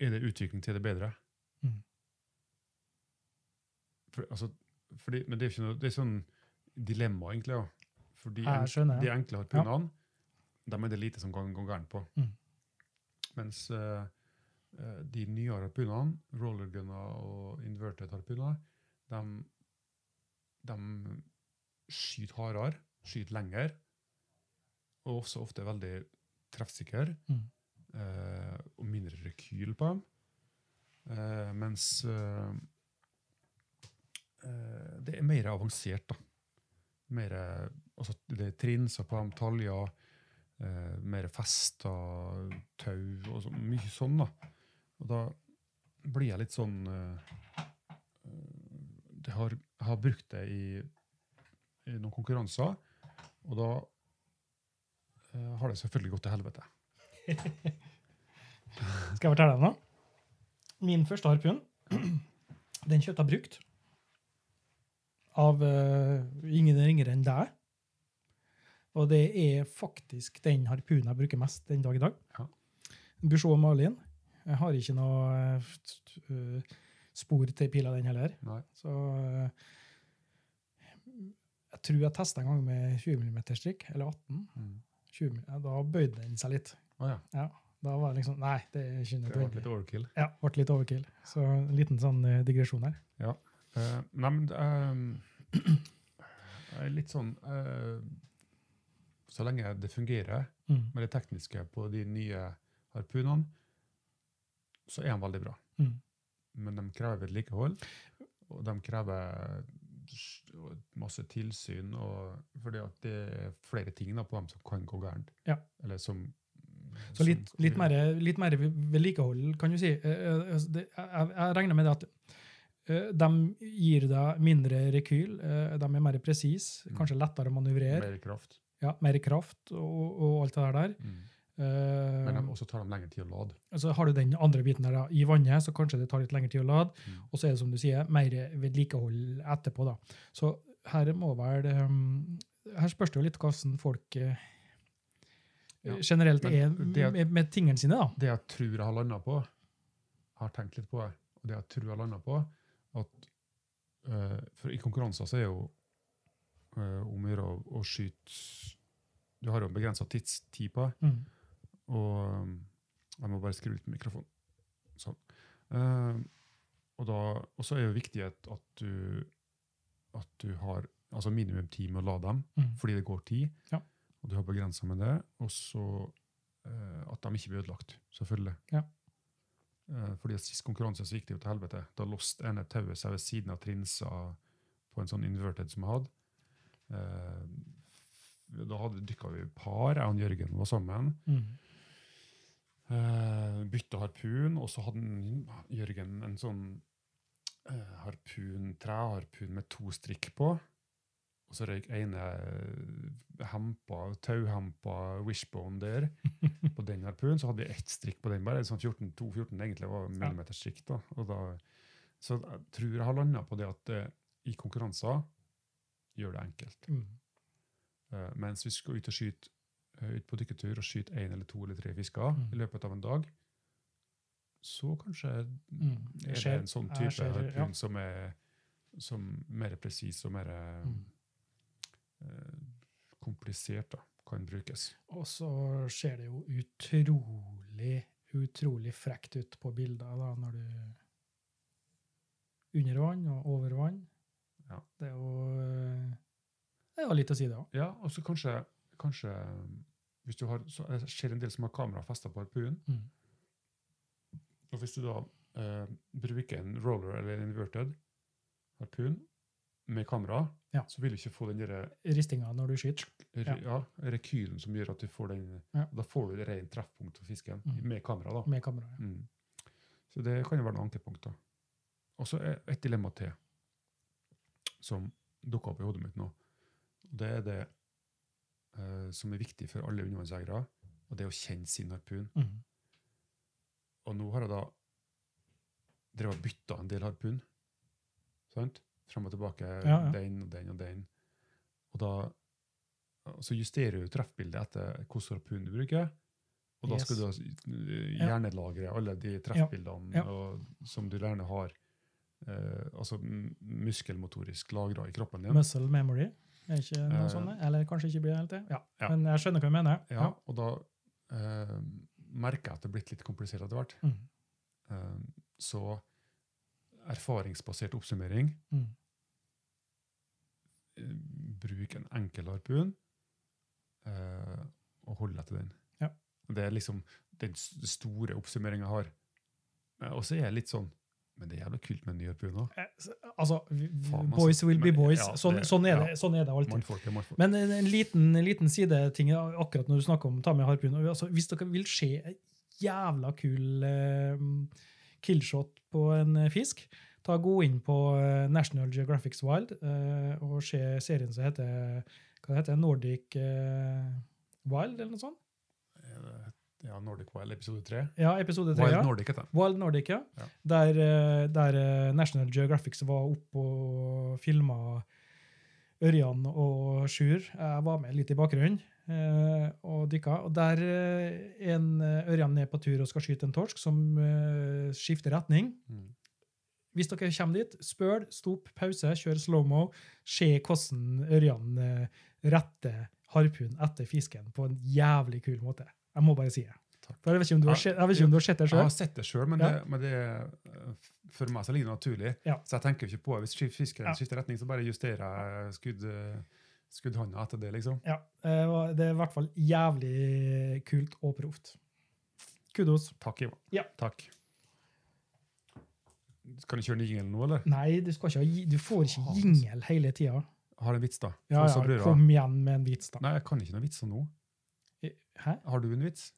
S1: er det utvikling til det bedre.
S2: Mhm.
S1: For, altså, fordi, men det er jo ikke noe, det er sånn dilemma, egentlig. Ja. For de,
S2: Jeg
S1: enk-
S2: skjønner,
S1: de
S2: ja.
S1: enkle harpunene, dem er det lite som kan gå gærent på.
S2: Mhm.
S1: Mens eh, eh, de nye harpunene, rollergunner og inverted harpuner, de, skyter hardere, skyter lenger, og også ofte er veldig treffsikre
S2: Mm.
S1: eh, og mindre rekyl på dem. Eh, mens eh, eh, det er mer avansert, da. Mer, eh, altså, det er trinser på dem, taljer, eh, mer fester, tau og så, mye sånn, da. Og da blir jeg litt sånn eh, eh, det har, Jeg har brukt det i, i noen konkurranser, og da eh, har det selvfølgelig gått til helvete.
S2: Skal jeg fortelle deg noe? Min første harpun, den kjøpte jeg brukt av eh, ingen ringere enn deg. Og det er faktisk den harpunen jeg bruker mest den dag i dag.
S1: Ja.
S2: Peugeot Malin. Jeg har ikke noe eh, t- t- eh, spor til pila, den heller.
S1: Nei.
S2: Så eh, jeg tror jeg testa en gang med 20 mm strikk, eller 18.
S1: Mm.
S2: 20, mm, ja, da bøyde den seg litt.
S1: Å ja.
S2: Da var det liksom Nei, det er ikke
S1: Det var
S2: nødvendig.
S1: litt overkill.
S2: Ja, ble litt overkill. Så en liten sånn eh, digresjon her.
S1: Eh, nei, men det er, jeg er litt sånn eh, Så lenge det fungerer
S2: Mm.
S1: med det tekniske på de nye harpunene, så er de veldig bra.
S2: Mm.
S1: Men de krever vedlikehold, og de krever s- og masse tilsyn, og, fordi at det er flere ting da, på dem som kan gå gærent.
S2: Ja.
S1: Eller som
S2: Så litt,
S1: som-
S2: litt, mer, litt mer vedlikehold, kan du si. Eh, eh, altså, det- Jeg, jeg regner med det at eh, de gir deg mindre rekyl, eh, de er mer presise,
S1: Mm.
S2: kanskje lettere å manøvrere,
S1: Mer kraft.
S2: ja, mer kraft og, og alt det der.
S1: Mm.
S2: Eh,
S1: Men de også tar de lengre tid å lade.
S2: så Altså, har du den andre biten der da, i vannet, så kanskje det tar litt lengre tid å lade.
S1: Mm.
S2: Og så er det, som du sier, mer vedlikehold etterpå, da. Så her må vel um, Her spørs det jo litt hvordan folk eh,
S1: Ja,
S2: generelt er
S1: men det-
S2: med, med tingene sine, da.
S1: det jeg tror jeg har landa på, jeg har tenkt litt på det, og det jeg tror jeg har landa på, at eh, for i konkurranser så er jo uh, om å gjøre å- å skyte Du har jo en begrensa tidstid på det,
S2: Mm.
S1: og um, Jeg må bare skru ut mikrofonen. Sånn. Eh, og da og så er jo viktig at, at du at du har altså minimum tid med å lade dem
S2: Mm.
S1: fordi det går tid,
S2: Ja.
S1: og du har begrensa med det, og så eh, at de ikke blir ødelagt, selvfølgelig.
S2: Ja.
S1: Eh, fordi at sist konkurranse så gikk det jo til helvete. Da lost ene tauet seg ved siden av trinsa på en sånn inverted som jeg hadde. Eh, da hadde dykka vi i par, jeg og Jørgen var sammen.
S2: Mm.
S1: Uh, bytta harpun, og så hadde han- Jørgen en sånn eh, harpun, treharpun med to strikk på. Og så røyk ene eh, hempa, tauhempa wishbone der på den harpunen. Så hadde jeg ett strikk på den, bare sånn 14, 2-14 egentlig var millimeterstrikk. da. Og da. Så jeg tror jeg har landa på det at eh, i konkurranser gjør det enkelt.
S2: Mm.
S1: Eh, mens hvis vi skal ut og skyte eh, ut på dykketur og skyte én eller to eller tre fisker
S2: Mm.
S1: i løpet av en dag, så kanskje er
S2: Mm.
S1: det
S2: Skjer-
S1: en sånn
S2: jeg
S1: type
S2: ser-
S1: harpun
S2: ja.
S1: som er som mer presis og mer eh,
S2: Mm.
S1: eh, komplisert da, kan brukes.
S2: Og så ser det jo utrolig, utrolig frekt ut på bilder da, når du Under vann og over vann.
S1: Ja.
S2: Det er jo eh, Det er jo litt å si, det òg.
S1: Ja, og så kanskje, kanskje um, hvis du har, så Jeg ser en del som har kamera festa på harpunen.
S2: Mm.
S1: Og hvis du da eh, bruker en roller eller en inverted harpun, med kamera,
S2: Ja.
S1: så vil du ikke få den derre
S2: Ristinga når du skyter.
S1: ja.
S2: Ja.
S1: rekylen som gjør at du får den
S2: Ja.
S1: Da får du et rent treffpunkt for fisken
S2: Mm.
S1: med kamera, da.
S2: Med kamera. Ja.
S1: Mm. Så det kan jo være noen ankepunkter. Og så er et dilemma til som dukker opp i hodet mitt nå. Det er det eh, som er viktig for alle undervannsjegere, og det er å kjenne sin harpun.
S2: Mm.
S1: Og nå har jeg da drevet og bytta en del harpun. Sant? Fram og tilbake.
S2: Ja, ja.
S1: Den og den og den. Og da og så justerer du treffbildet etter hvilken harpun du bruker. Og da
S2: Yes.
S1: skal du da s- eh, gjerne lagre alle de treffbildene
S2: Ja.
S1: Og, som du gjerne har eh, altså m- muskelmotorisk lagra i kroppen din.
S2: Muscle memory. Er ikke noe
S1: Eh.
S2: sånt? Eller kanskje ikke blir det helt det? Ja.
S1: Ja.
S2: Men jeg skjønner hva du mener.
S1: ja, og da eh, merker jeg at det er blitt litt komplisert etter hvert.
S2: Mm.
S1: Eh, så erfaringsbasert oppsummering
S2: Mm.
S1: eh, bruk en enkel harpun eh, og hold deg til den.
S2: Ja.
S1: Det er liksom den s- store oppsummeringen jeg har. Eh, og så er jeg litt sånn Men det er jævla kult med en ny harpun òg.
S2: Eh, s- Altså, vi- vi-
S1: Faen, altså.
S2: boys will be
S1: Men-
S2: boys.
S1: ja,
S2: sånn,
S1: det-
S2: sånn, er
S1: ja.
S2: det, sånn er det alltid.
S1: Mannfolk er mannfolk.
S2: Men en en liten, en liten sideting ja, akkurat når du snakker om ta med harpun. og Altså, hvis dere vil se en jævla kul eh, killshot på en eh, fisk, ta gå inn på eh, National Geographics Wild eh, og se serien som heter hva det heter, Nordic eh, Wild, eller noe sånt?
S1: Eh, ja, Nordic Wild episode tre.
S2: Ja, episode tre.
S1: Wild
S2: ja.
S1: Nordic heter den.
S2: Wild Nordic, ja.
S1: Ja.
S2: Der, eh, der eh, National Geographic var oppe og filma Ørjan og Sjur. Jeg var med litt i bakgrunnen eh, og dykka. Og der eh, en eh, Ørjan er på tur og skal skyte en torsk som eh, skifter retning.
S1: Mm.
S2: Hvis dere kommer dit, spøl, stopp, pause, kjør slow-mo. Se hvordan Ørjan eh, retter harpun etter fisken på en jævlig kul måte. Jeg må bare si det.
S1: Takk.
S2: For Jeg vet ikke om du har
S1: Ja,
S2: sett, jeg vet ikke om du har sett det
S1: Jeg
S2: sjøl.
S1: har sett det sjøl, men,
S2: Ja.
S1: det- men det, eh, for meg så ligger det naturlig.
S2: Ja.
S1: Så jeg tenker jo ikke på det. Hvis skif- fiskeren
S2: Ja.
S1: skifter retning, så bare justerer jeg skudd, eh, skuddhånda etter det, liksom.
S2: Ja, eh, og det er i hvert fall jævlig kult og proft. Kudos.
S1: Takk, Ivan.
S2: Ja.
S1: Takk. Kan du kjøre den jingelen nå, eller?
S2: Nei, du, skal ikke, ha gi- du får ikke
S1: Faen.
S2: jingle hele tida.
S1: Har du en vits, da?
S2: Ja,
S1: For så
S2: ja,
S1: blir det-
S2: kom igjen med en vits, da.
S1: Nei, jeg kan ikke noen vitser nå.
S2: Hæ?
S1: Har du en vits?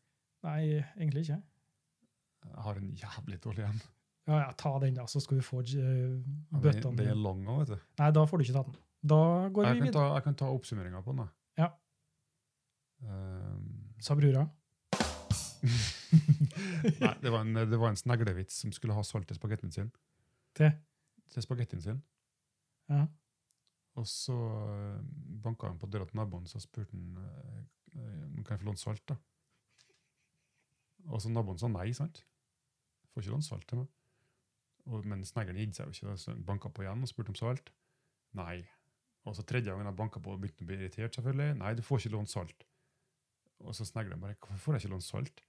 S2: Nei, egentlig ikke.
S1: Jeg har en jævlig dårlig en.
S2: Ja, ja, Ta den, da, så skal du få eh,
S1: Ja, Den,
S2: bøtta
S1: den er
S2: med
S1: lang òg, vet du.
S2: Nei, da får du ikke tatt den. Da går
S1: Jeg
S2: vi
S1: kan
S2: videre,
S1: ta, jeg kan ta oppsummeringa på den, da.
S2: Ja.
S1: Ehm,
S2: sa brura.
S1: nei, det var, en, det var en sneglevits som skulle ha salt til spagettien sin.
S2: Til?
S1: Til spagettien sin.
S2: Ja.
S1: Og så eh, banka han på døra til naboen, så spurte han eh, eh, kan jeg få låne salt. da? Og så naboen sa nei, sant? Får ikke låne salt til meg. Og, men sneggeren gitt seg jo ikke, da, så han banka på igjen og spurte om salt. Nei. Og så tredje gangen han banka på, begynte han å bli irritert. selvfølgelig. Nei, du får ikke låne salt. Og så snegleren bare Hvorfor får jeg ikke låne salt?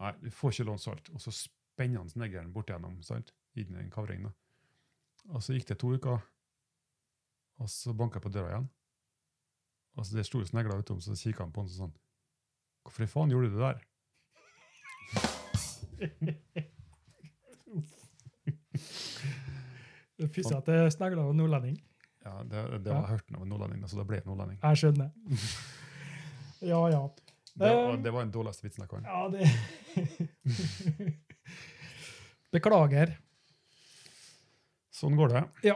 S1: Nei, du får ikke låne salt. Og så spenner han snegleren bort igjennom, sant? inn i en kavring. da. Og så gikk det to uker. Og så banka jeg på døra igjen. Og så det sto jo snegler utom, så kikket han på han og sånn Hvorfor i faen gjorde du det der?
S2: Det Pussig at det er snegler og nordlending.
S1: Ja, Det, det var hørt av en nordlending, da, så det ble en nordlending.
S2: Jeg skjønner. Ja, ja.
S1: Det var,
S2: Um,
S1: det var den dårligste vitsen jeg kan.
S2: Ja, det Beklager.
S1: Sånn går det.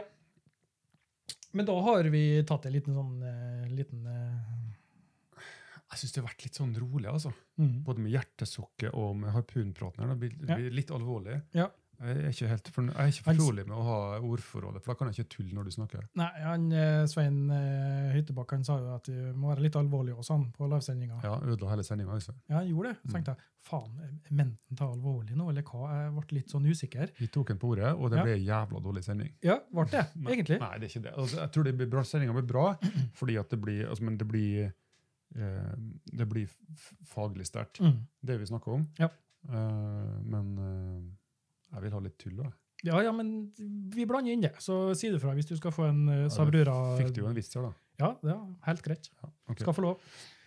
S2: Men da har vi tatt en liten sånn eh, liten eh,
S1: Jeg syns det har vært litt sånn rolig, altså.
S2: mm.
S1: Både med hjertesukket og med harpunpraten. her, da. Det blir, det
S2: Ja.
S1: blir litt alvorlig.
S2: Ja.
S1: Jeg er ikke helt fornøyd, jeg er ikke
S2: Han s-
S1: fortrolig med å ha ordforrådet, for da kan jeg ikke tulle når du snakker.
S2: Nei, han, eh, Svein eh, Hyttebakk han sa jo at vi må være litt alvorlige også, han, på livesendinga. Ja.
S1: Ja, Ødela hele sendinga, altså.
S2: han gjorde det. Så tenkte jeg faen, er menten tar alvorlig nå, eller hva? Jeg ble litt sånn usikker.
S1: Vi tok den på ordet, og det
S2: Ja.
S1: ble en jævla dårlig sending.
S2: Ja, ble det,
S1: Nei,
S2: egentlig.
S1: Nei, det er ikke det. Altså, jeg tror det blir bra, sendinga blir bra, fordi at det blir, altså, men det blir, eh, det blir f- faglig sterkt,
S2: Mm.
S1: det vi snakker om.
S2: Ja.
S1: Eh, men eh, jeg vil ha litt tull òg.
S2: Ja, ja, men vi blander inn det, så si det fra hvis du skal få en eh, Sabrura.
S1: Fikk du jo en vits her, da.
S2: Ja, ja, helt greit.
S1: Ja, ok.
S2: Skal få lov.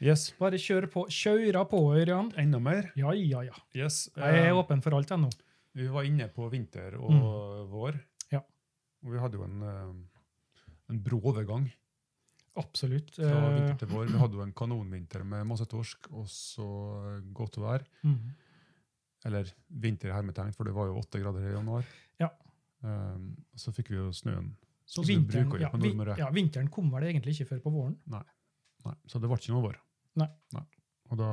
S1: Yes.
S2: Bare kjør på. Kjøra på, Ørjan.
S1: Enda mer.
S2: Ja, ja, ja.
S1: Yes.
S2: Jeg
S1: eh,
S2: er åpen for alt ennå.
S1: Vi var inne på vinter og vår.
S2: Mm. Ja.
S1: Og vi hadde jo en, eh, en brå overgang
S2: Absolutt.
S1: fra
S2: Eh,
S1: vinter til vår. Vi hadde jo en kanonvinter med masse torsk og så eh, godt vær.
S2: mm.
S1: Eller vinter i hermetegn, for det var jo åtte grader i januar.
S2: Ja.
S1: Um, så fikk vi jo snøen. Sånn som vi
S2: Vinteren,
S1: bruker å
S2: ja,
S1: gjøre på
S2: vi-
S1: Nordmøre.
S2: ja, vinteren kom vel egentlig ikke før på våren.
S1: Nei, så det ble ikke noe vår.
S2: Nei.
S1: Og da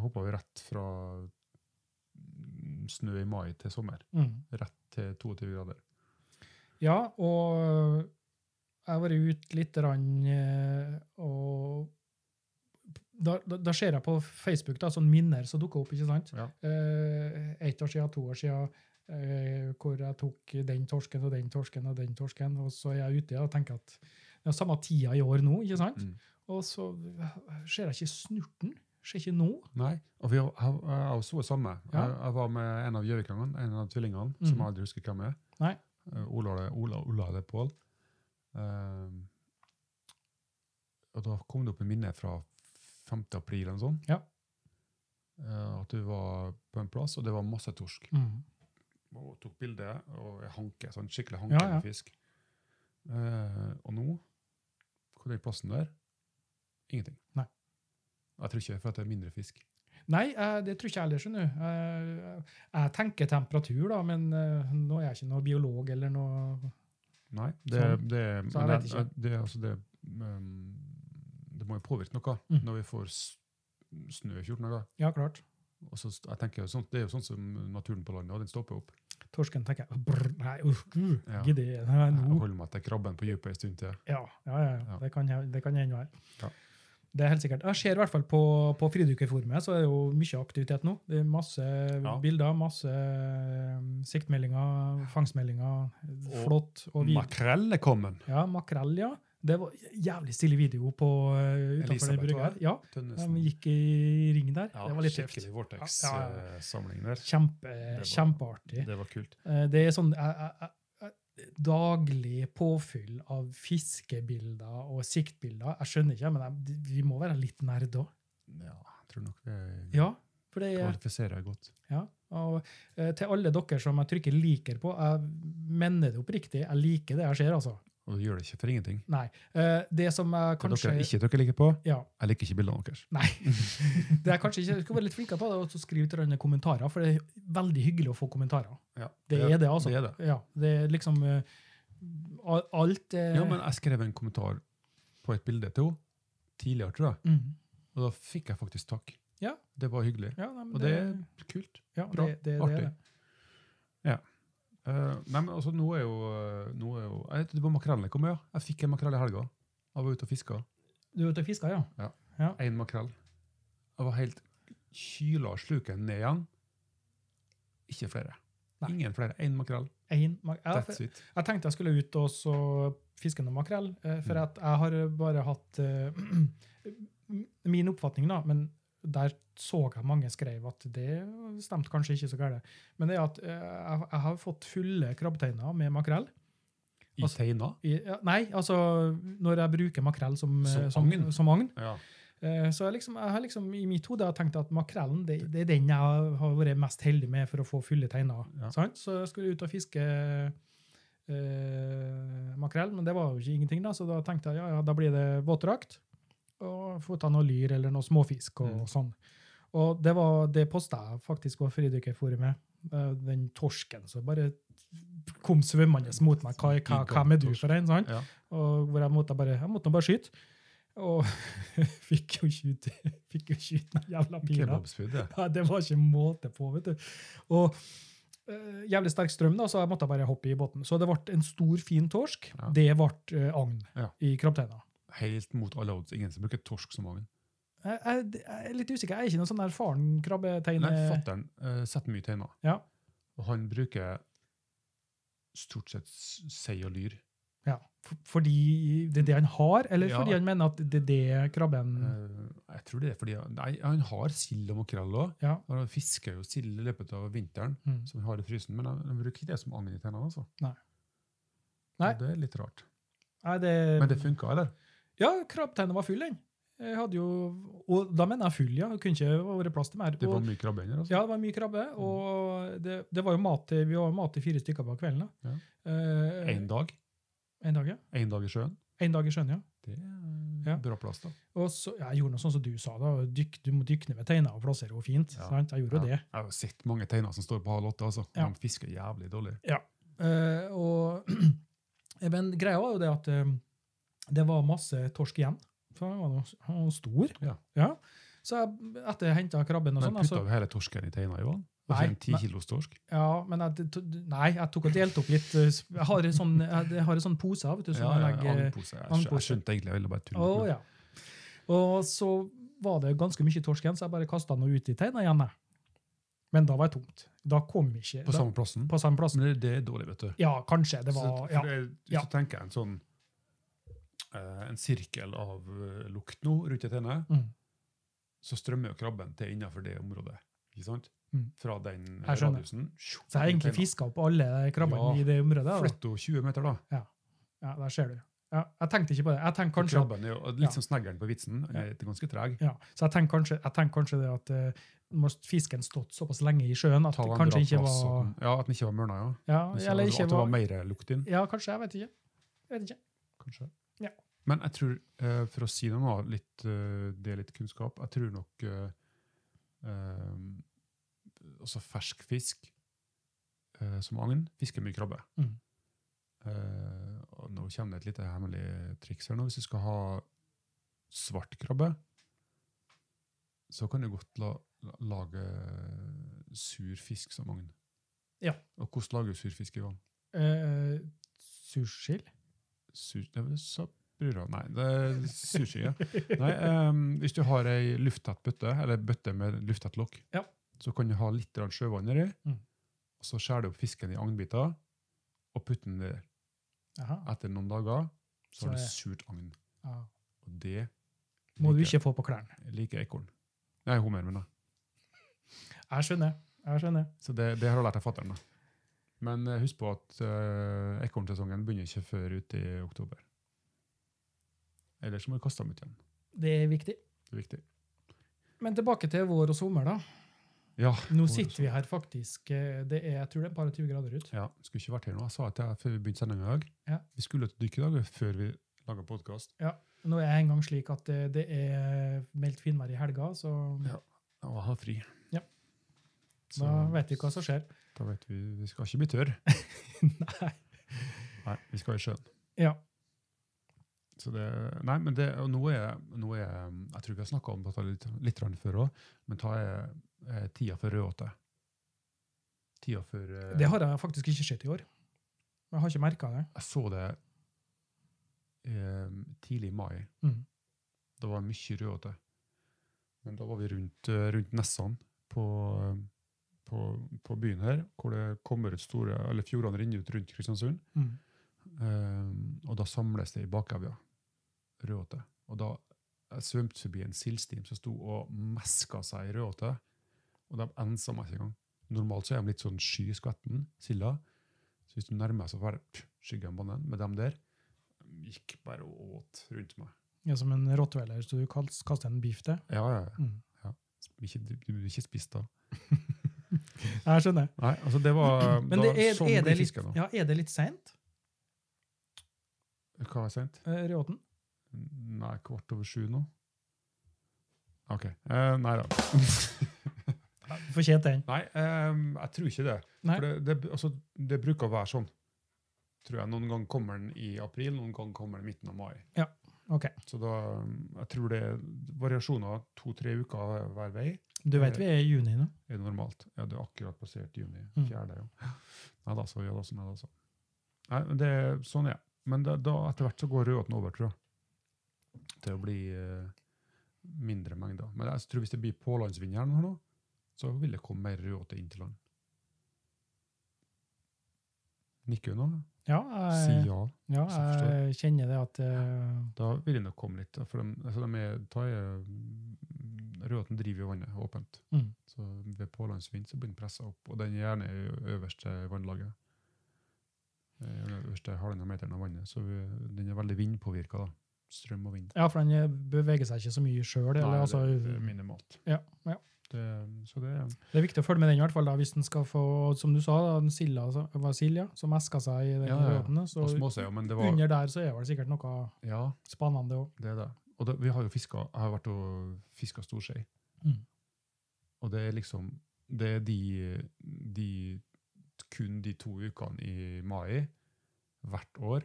S1: hoppa vi rett fra mm, snø i mai til sommer.
S2: Mm.
S1: Rett til 22 grader.
S2: Ja, og jeg har vært ute litt, rann, eh, og da, da, da ser jeg på Facebook da, sånn minner som dukker opp. ikke sant?
S1: Ja.
S2: Eh, Ett år siden, to år siden, eh, hvor jeg tok den torsken og den torsken og den torsken. Og så er jeg ute og tenker at det er samme tida i år nå, ikke sant?
S1: Mm.
S2: Og så ser jeg ikke snurten. Ser ikke nå.
S1: Nei, og vi har, har, har også det samme.
S2: Ja.
S1: Jeg, jeg var med en av gjøvikangene, en av tvillingene,
S2: Mhm.
S1: som jeg aldri husker hvem er.
S2: Nei.
S1: Eh, Ola, Ola, Ola eller Pål. Ehm, og da kom det opp en minne fra 5. april eller noe sånt.
S2: Ja.
S1: Eh, at du var på en plass, og det var masse torsk. og tok bilde og jeg hanke, sånn skikkelig hanke
S2: Ja, ja.
S1: med fisk. Eh, og nå, hvor er plassen der? Ingenting.
S2: Nei.
S1: Jeg tror ikke, for at det er mindre fisk.
S2: Nei, eh, det tror ikke jeg heller, skjønner du. Eh, Jeg tenker temperatur, da, men eh, nå er jeg ikke noe biolog eller noe
S1: Nei, det,
S2: Sånn.
S1: det,
S2: Så jeg
S1: men
S2: vet
S1: det,
S2: ikke.
S1: det, altså det, um, det må jo påvirke noe
S2: Mm.
S1: når vi får s- snø i 14 dager.
S2: Ja, klart.
S1: Og så, st- jeg tenker jo sånt, Det er jo sånn som naturen på landet, og den stopper opp.
S2: Torsken tenker jeg brr, Nei, uff, uh,
S1: Ja.
S2: gidder jeg nei,
S1: Jeg
S2: nå.
S1: holder meg til krabben på dypet en stund til.
S2: Ja, ja, ja, ja.
S1: Ja.
S2: Det kan jeg- det kan hende være.
S1: Ja.
S2: Det er helt sikkert. Jeg ser i hvert fall på, på Fridykkerforumet, så er det jo mye aktivitet nå. Det er masse bilder, masse eh, siktmeldinger, fangstmeldinger.
S1: Og
S2: Flott. Og vid-
S1: Makrell er kommet!
S2: ja, makrell, ja. Det var jævlig stille video på uh, utenfor den
S1: Elisabeth
S2: brygga.
S1: var
S2: her. Ja,
S1: Tønnesen.
S2: de gikk i ring der.
S1: Ja,
S2: det var litt tøft.
S1: skikkelig
S2: Ja, ja, ja.
S1: Vortex-samling der.
S2: Kjempe,
S1: var-
S2: kjempeartig.
S1: Det var kult.
S2: Eh, Det er sånn eh, eh, eh, daglig påfyll av fiskebilder og siktbilder. Jeg skjønner ikke, men jeg, vi må være litt nerd òg.
S1: Ja, jeg tror nok det
S2: Ja, for det er
S1: kvalifiserer jeg godt.
S2: ja. Og eh, til alle dere som jeg trykker 'liker' på, jeg mener det oppriktig. Jeg liker det jeg ser, altså.
S1: Og du gjør det ikke for ingenting.
S2: Nei. Eh, Det som jeg
S1: Det
S2: kanskje
S1: dere ikke dere liker på,
S2: Ja.
S1: jeg liker ikke bildene deres.
S2: Nei. Det er kanskje ikke, jeg skal være litt flinkere på det, og så skrive til hverandre kommentarer, for det er veldig hyggelig å få kommentarer. Det er det, altså.
S1: Det er det.
S2: Ja, det er liksom eh, al- alt eh,
S1: Ja, men jeg skrev en kommentar på et bilde til henne tidligere, tror jeg.
S2: mm.
S1: Og da fikk jeg faktisk takk.
S2: Ja.
S1: Det var hyggelig.
S2: ja, nei, men
S1: Og det er kult.
S2: ja,
S1: bra,
S2: det, det,
S1: artig.
S2: Det, er det.
S1: Eh, nei, men altså, nå er jo, eh, nå er jo jeg, vet, Det var makrellen jeg kom med, ja. Jeg fikk en makrell i helga. Jeg var ute og fiska.
S2: Du er ute og fisker, ja?
S1: Én makrell. Jeg var helt kyla og sluken ned igjen. Ikke flere.
S2: Nei.
S1: Ingen flere. Én makrell.
S2: En, mak- ja, for-
S1: That's it.
S2: jeg tenkte jeg skulle ut og så fiske noe makrell, eh, for
S1: Mm.
S2: at jeg har bare hatt eh, Min oppfatning, da, men der så jeg mange skrev at det stemte kanskje ikke så galt. Men det er at eh, jeg, jeg har fått fulle krabbeteiner med makrell.
S1: I
S2: Altså-
S1: teina.
S2: I, ja, nei, altså når jeg bruker makrell som,
S1: Som
S2: eh, som
S1: agn.
S2: Som agn.
S1: Ja.
S2: Eh, Så jeg, liksom, jeg har liksom i mitt hode har tenkt at makrellen det, det er den jeg har vært mest heldig med for å få fulle teiner.
S1: Ja.
S2: Sant? Så jeg skulle ut og fiske eh, makrell, men det var jo ikke ingenting, da, så da tenkte jeg ja, ja, da blir det våtdrakt. Og få ta noe lyr eller noe småfisk og
S1: Mm.
S2: sånn. Og det, var- det posta jeg faktisk på Fridykkerforumet. Eh, Den torsken som bare kom svømmende mot meg. Hva, hva, hvem er du for en? sant?
S1: Ja.
S2: Og hvor jeg måtte bare, jeg måtte bare skyte. Og fikk jo ikke ut, fikk jo ikke ut den jævla pila.
S1: Kebabspyd, det.
S2: Ja, det var ikke måte på, vet du. Og eh, jævlig sterk strøm, da, så jeg måtte bare hoppe i båten. Så det ble en stor, fin torsk.
S1: Ja.
S2: Det ble eh, agn
S1: Ja.
S2: i krabbeteina.
S1: Helt mot alle odds. Ingen som bruker torsk som agn.
S2: Jeg, jeg, jeg er litt usikker. Jeg er ikke noen sånn erfaren krabbeteine...
S1: Nei, fatteren uh, setter mye teiner.
S2: Ja.
S1: Og han bruker stort sett s- sei og lyr.
S2: Ja. f- Fordi det er det han har, eller
S1: Ja.
S2: fordi han mener at det er det krabben
S1: Eh, jeg tror det er fordi Nei, han har sild og makrell òg.
S2: Ja.
S1: Han fisker jo sild i løpet av vinteren,
S2: Mm.
S1: som han har i frysen, men han, han bruker ikke det som agn i tennene. Altså.
S2: Nei. Nei.
S1: Og Det er litt rart.
S2: Nei, det,
S1: Men det funka, eller?
S2: Ja, krabbeteinen var full, den. Jeg hadde jo, og da mener jeg full, ja. Det kunne ikke vært plass til mer.
S1: Det var
S2: og,
S1: mye krabbe inni der. Altså.
S2: ja, det var mye krabbe, og det, det var jo mat til, vi var jo mat til fire stykker på kvelden. da. Eh,
S1: Én dag.
S2: en dag, ja.
S1: Én dag i sjøen.
S2: Én dag i sjøen, ja.
S1: Det
S2: Ja.
S1: er bra plass, da.
S2: Og så, jeg gjorde noe sånn som du sa, da. Dykk, du må dykke ned ved teiner og plassere henne fint.
S1: Ja.
S2: Sant? Jeg gjorde jo det.
S1: Jeg har jo sett mange teiner som står på halv åtte. altså.
S2: Ja.
S1: De fisker jævlig dårlig.
S2: Eh, og, men greia var jo det at eh, det var masse torsk igjen. For han var noe, han var stor.
S1: Ja.
S2: Så jeg, etter jeg henta krabben og
S1: Men
S2: sånn
S1: putta
S2: altså,
S1: du hele torsken i teina, Johan? Og
S2: Nei,
S1: en ti
S2: men-
S1: kilos torsk?
S2: ja, men jeg, t- Nei, jeg tok og delte opp litt. eh, s- Jeg har en sånn, jeg, jeg har en sånn pose vet du, som
S1: ja, ja,
S2: jeg legger
S1: agnpose. Jeg, skjø- jeg
S2: agnpose.
S1: skjønte egentlig, jeg ville bare tulle.
S2: Å,
S1: med det.
S2: ja. Og så var det ganske mye torsk igjen, så jeg bare kasta den ut i teina igjen. jeg. Men da var det tomt. Da kom ikke
S1: På
S2: da,
S1: samme plassen?
S2: på samme plass.
S1: Men det, det er dårlig, vet du.
S2: Ja, kanskje. Det
S1: Så-
S2: var
S1: for
S2: ja.
S1: det er- Hvis
S2: Ja.
S1: du tenker en sånn eh, en sirkel av eh, lukt nå rundt et henne,
S2: Mm.
S1: så strømmer jo krabben til innenfor det området. Ikke sant?
S2: Mm.
S1: Fra den eh,
S2: Jeg skjønner.
S1: radiusen. sju,
S2: Så jeg har egentlig
S1: teina.
S2: fiska opp alle
S1: Ja.
S2: krabbene i det området. da.
S1: Flytt henne 20 meter, da.
S2: Ja, der ser du. Ja, jeg tenkte ikke på det. Jeg tenker
S1: For
S2: kanskje, at-
S1: Krabben er jo
S2: Ja.
S1: litt som sneggeren på vitsen.
S2: Ja.
S1: Er ganske treg.
S2: ja, så jeg tenker kanskje, jeg tenker kanskje det at eh, må fisken stått såpass lenge i sjøen at
S1: Ta den
S2: det
S1: bra
S2: kanskje ikke
S1: plass,
S2: var
S1: og- Ja, At den ikke var mørna, ja.
S2: ja,
S1: Men så-
S2: Eller
S1: at
S2: ikke
S1: det var
S2: var
S1: mer lukt inn,
S2: Ja, kanskje. Jeg vet ikke. Jeg vet ikke.
S1: kanskje.
S2: Ja.
S1: Men jeg tror, eh, for å si noe nå, litt, eh, det er litt kunnskap, jeg tror nok eh, eh, altså fersk fisk eh, som agn fisker mye krabbe.
S2: Mm.
S1: Eh, og nå kommer det et lite hemmelig triks her nå. Hvis du skal ha svart krabbe, så kan du godt la, la, lage eh, sur fisk som agn.
S2: Ja.
S1: Og hvordan lager du sur fisk i vann?
S2: Eh, sursild?
S1: Sur, det var sapura. Nei, det er sushi, ja. Nei, ehm, hvis du har ei lufttett bøtte, eller bøtte med lufttett lokk,
S2: Ja.
S1: så kan du ha litt grann sjøvann nedi,
S2: Mm.
S1: og så skjærer du opp fisken i agnbiter og putter den der.
S2: Jaha.
S1: Etter noen dager så
S2: Så
S1: har du
S2: er-
S1: surt agn.
S2: Ja.
S1: Og det
S2: Må du
S1: liker-
S2: ikke få på klærne.
S1: liker ekorn. Nei, hummer, mener jeg.
S2: Jeg skjønner. Jeg skjønner.
S1: Så det, det har jeg lært av fatter'n. da. Men eh, husk på at uh, ekornsesongen begynner ikke før ut i oktober. Ellers må du kaste dem ut igjen.
S2: Det er viktig.
S1: Det er viktig.
S2: Men tilbake til vår og sommer, da.
S1: Ja,
S2: Nå
S1: og
S2: sitter
S1: så-
S2: vi her faktisk eh, det er, Jeg tror det er bare 20 grader ut.
S1: Ja, skulle ikke vært her nå. Jeg sa til deg før vi begynte sendingen i dag.
S2: Ja.
S1: Vi skulle til dykk i dag før vi laget podcast.
S2: Nå er jeg engang slik at det, det er meldt finvær i helga, så
S1: Ja. Og jeg har fri.
S2: Ja.
S1: Så
S2: da vet vi hva som skjer.
S1: da vet vi, vi skal ikke bli tørr.
S2: Nei.
S1: Nei, vi skal i sjøen.
S2: Ja.
S1: Så det, nei, men det, og nå er, nå er, jeg tror ikke jeg har snakket om dette litt, litt grann før også, men ta er, er tida for rødåte. Tida for... eh,
S2: Det har jeg faktisk ikke sett i år. Jeg har ikke merka det.
S1: Jeg så det eh, tidlig i mai.
S2: Mhm.
S1: Det var mye rødåte. Men da var vi rundt, eh, rundt Nessan på, eh, på, på byen her, hvor det kommer ut store, eller fjordene renner ut rundt Kristiansund.
S2: Mm.
S1: Eh, og da samles det i bakevja. Rødåte. Og da jeg svømte forbi en sildstim som sto og meska seg i rødåte. Og de ensa meg ikke engang. Normalt så er de litt sånn sky i skvetten, silda. Så hvis du nærmer deg, så bare pff, skygger de banen. Men dem der de gikk bare og åt rundt meg.
S2: Ja, som en rottweiler så du kast- kaster en beef til.
S1: Ja, ja, ja.
S2: Mm.
S1: Ikke, du blir ikke spist da.
S2: Jeg skjønner.
S1: Nei, altså det var
S2: Men
S1: da,
S2: det er,
S1: sånn
S2: er, det
S1: blir
S2: litt,
S1: fisken da.
S2: ja, er det litt seint,
S1: Hva har jeg sendt?
S2: eh, Reåten?
S1: Nei, kvart over sju nå. Ok. Eh, nei da.
S2: Fortjent den.
S1: Nei, ehm, jeg tror ikke det.
S2: Nei.
S1: For det, det, altså, det bruker å være sånn. Tror jeg. Noen ganger kommer den i april, noen ganger kommer den i midten av mai.
S2: Ja, ok.
S1: Så da, ehm, jeg tror det er variasjoner to-tre uker hver vei
S2: Du vet vi er i juni nå.
S1: er normalt. Ja, det er akkurat passert juni.
S2: Mm.
S1: Fjerde, jo. Nei da, så ja da, så nei da, så. altså. Nei, men det er sånn, ja. Men da, da etter hvert så går rødåten over, tror jeg. Til å bli eh, mindre mengder. Men jeg tror hvis det blir pålandsvind her nå, så vil det komme mer rødåte inn til land. Nikker du nå?
S2: Ja,
S1: Si
S2: jeg,
S1: ja.
S2: ja,
S1: så forstår
S2: jeg kjenner det at eh,
S1: Da vil det nok komme litt. For de, altså de er, da er mm, Rødåten driver jo vannet åpent.
S2: Mm.
S1: Så ved pålandsvind så blir den pressa opp, og den er gjerne i ø- øverste vannlaget. Eh, Gjerne øverste halvannen meteren av vannet. Så vi, den er veldig vindpåvirka. Strøm og vind.
S2: Ja, for den eh, beveger seg ikke så mye sjøl.
S1: Nei,
S2: Altså,
S1: det, det er minimalt.
S2: ja, ja.
S1: Det, så det er
S2: Det er viktig å følge med den, i hvert fall da, hvis den skal få, som du sa, da, den silda, som- var silja, som eska seg i den
S1: Ja, ja.
S2: båten. Så
S1: og småseier, men det var
S2: under der så er det vel sikkert noe
S1: Ja,
S2: spennende òg.
S1: det er det. Og det, vi har jo fiska Jeg har vært og fiska storsei.
S2: Mm.
S1: Og det er liksom Det er de, de Kun de to ukene i mai hvert år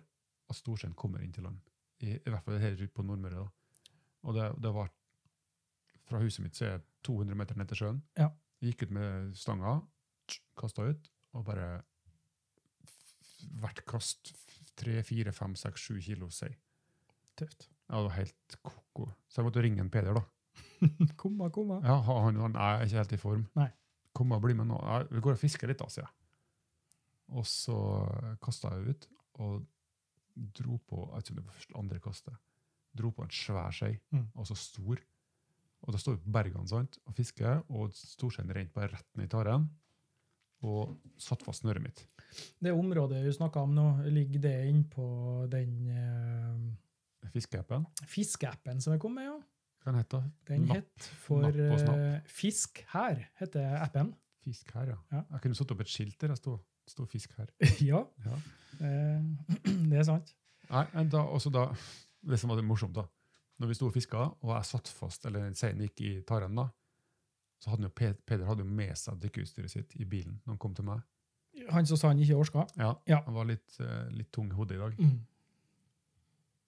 S1: at storseien kommer inn til land. I, i hvert fall her ute på Nordmøre. da. Og det, det var Fra huset mitt så er jeg 200 meter ned til sjøen.
S2: Ja.
S1: Gikk ut med stanga, kasta ut, og bare f- Hvert kast f- tre, fire, fem, seks, sju kilo sei.
S2: Tøft.
S1: Ja, det var helt koko. Så jeg måtte ringe en Peder, da.
S2: Komma, komma.
S1: Ja, ha- han, han er ikke helt i form.
S2: Nei.
S1: Kom og bli med nå. Nei, Vi går og fisker litt, da, sier jeg. Og så kasta jeg ut, og dro på jeg vet ikke om det var første andre kastet, dro på en svær skei,
S2: Mm.
S1: altså stor. Og da står vi på bergene sant, og fisker, og storseien rent bare rett ned i taren. Og satt fast snøret mitt.
S2: Det området vi snakka om nå, ligger det innpå den eh,
S1: Fiskeappen.
S2: fiskeappen som jeg kom med? ja?
S1: Hva den heter den?
S2: Den
S1: Napp.
S2: het for
S1: Napp og snapp.
S2: eh, Fisk her, heter appen.
S1: Fisk her, ja.
S2: Ja.
S1: Jeg kunne satt opp et skilt der jeg sto. Stod fisk her.
S2: ja,
S1: Ja.
S2: eh, det er sant.
S1: Nei, men da, også da, det som var det morsomt da, når vi sto og fiska, og jeg satt fast, eller den seien gikk i taren da, så hadde han jo, Pe- Peder hadde jo med seg dykkeutstyret sitt i bilen når han kom til meg.
S2: Han som sa han ikke orska.
S1: Ja,
S2: Ja.
S1: Han var litt, eh, litt tung i hodet i dag.
S2: Mm.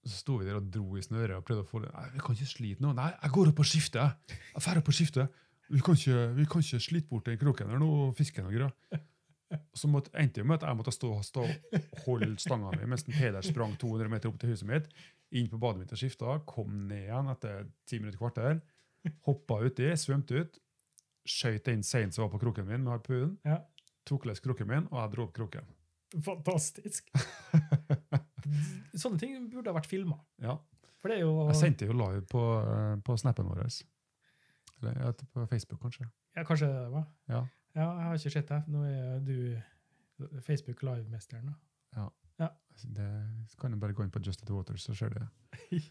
S1: Så sto vi der og dro i snøret og prøvde å få det. Nei, vi kan ikke slite nå. Nei, jeg går opp og skifter. jeg. Jeg drar opp og skifter. Vi kan ikke, vi kan ikke slite bort den kroken her nå og fisken og greier. Så måtte, endte det med at jeg måtte stå stå og holde stanga mi mens den Peder sprang 200 meter opp til huset mitt, inn på badet mitt og skifta, kom ned igjen etter 10 minutter kvarter, hoppa uti, svømte ut, skøyt den seinen som var på kroken min med harpunen,
S2: Ja.
S1: tok løs kroken min, og jeg dro opp kroken.
S2: Fantastisk. Sånne ting burde ha vært filma.
S1: Ja.
S2: For det er jo
S1: Jeg sendte jo live på, eh, på snappen vår. Eller jeg vet, på Facebook, kanskje.
S2: ja, Kanskje det var
S1: Ja.
S2: ja, jeg har ikke sett det. Nå er du Facebook Live-mesteren. da.
S1: Altså, Det så kan jeg bare gå inn på Just At Water, så ser du det.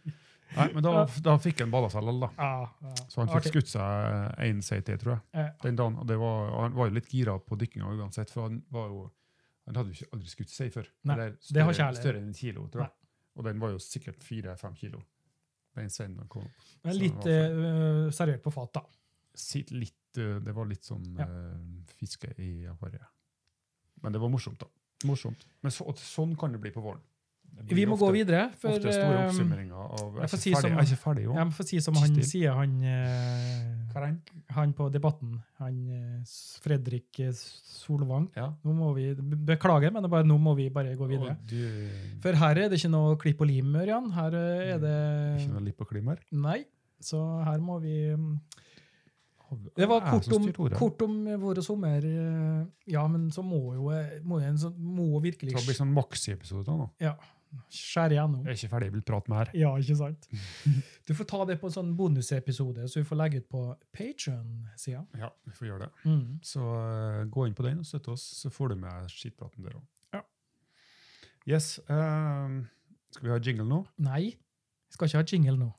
S1: Nei, men da, da fikk han balla seg lall, da.
S2: Ah, ah,
S1: Så han fikk
S2: artig.
S1: skutt seg én sei til, tror jeg.
S2: Eh,
S1: Den dagen, og, det var, og Han var jo litt gira på dykkinga uansett, for han var jo han hadde jo ikke aldri skutt sei før.
S2: Nei,
S1: Eller
S2: det har
S1: større-
S2: ikke jeg heller.
S1: Større enn en kilo, tror jeg. Og den var jo sikkert fire-fem kilo. Den seien han kom
S2: men
S1: så
S2: litt
S1: det var
S2: eh, servert på fat, da.
S1: si- litt, eh, Det var litt sånn
S2: Ja.
S1: eh, fiske i akvariet. Men det var morsomt, da. Morsomt. Men så, og sånn kan det bli på våren. Det blir
S2: Vi må gå
S1: ofte-
S2: videre. For,
S1: ofte store
S2: eh,
S1: oppsummeringer av Jeg er
S2: jeg får
S1: ikke
S2: si som-
S1: ferdig, jeg er ikke ferdig jo.
S2: jeg må få si som han
S1: Stil.
S2: sier, han eh,
S1: Karen?
S2: han på Debatten, han eh, S- Fredrik eh, Solvang.
S1: Ja.
S2: Nå må vi, be- Beklager, men det er bare, nå må vi bare gå videre.
S1: Og du
S2: For her er det ikke noe klipp og lim, Ørjan. Her eh, er det
S1: Ikke noe lipoklimer?
S2: Nei. Så her må vi mm, Det var
S1: Jeg
S2: kort
S1: som
S2: om,
S1: styrer ordet.
S2: kort om våre sommer... eh, Ja, men så må jo eh, må en sånn- Eh. må
S1: Det
S2: virkelig
S1: blir sånn maxi-episode da nå.
S2: skjære gjennom.
S1: Jeg er ikke ferdig, jeg vil prate mer.
S2: Ja, ikke sant? Du får ta det på en sånn bonusepisode, så vi får legge ut på Patron-sida.
S1: Ja, vi får gjøre det.
S2: Mm.
S1: Så eh, gå inn på den og støtte oss, så får du med skittpraten der òg.
S2: Ja.
S1: Yes. eh, skal vi ha jingle nå?
S2: Nei, jeg skal ikke ha jingle nå.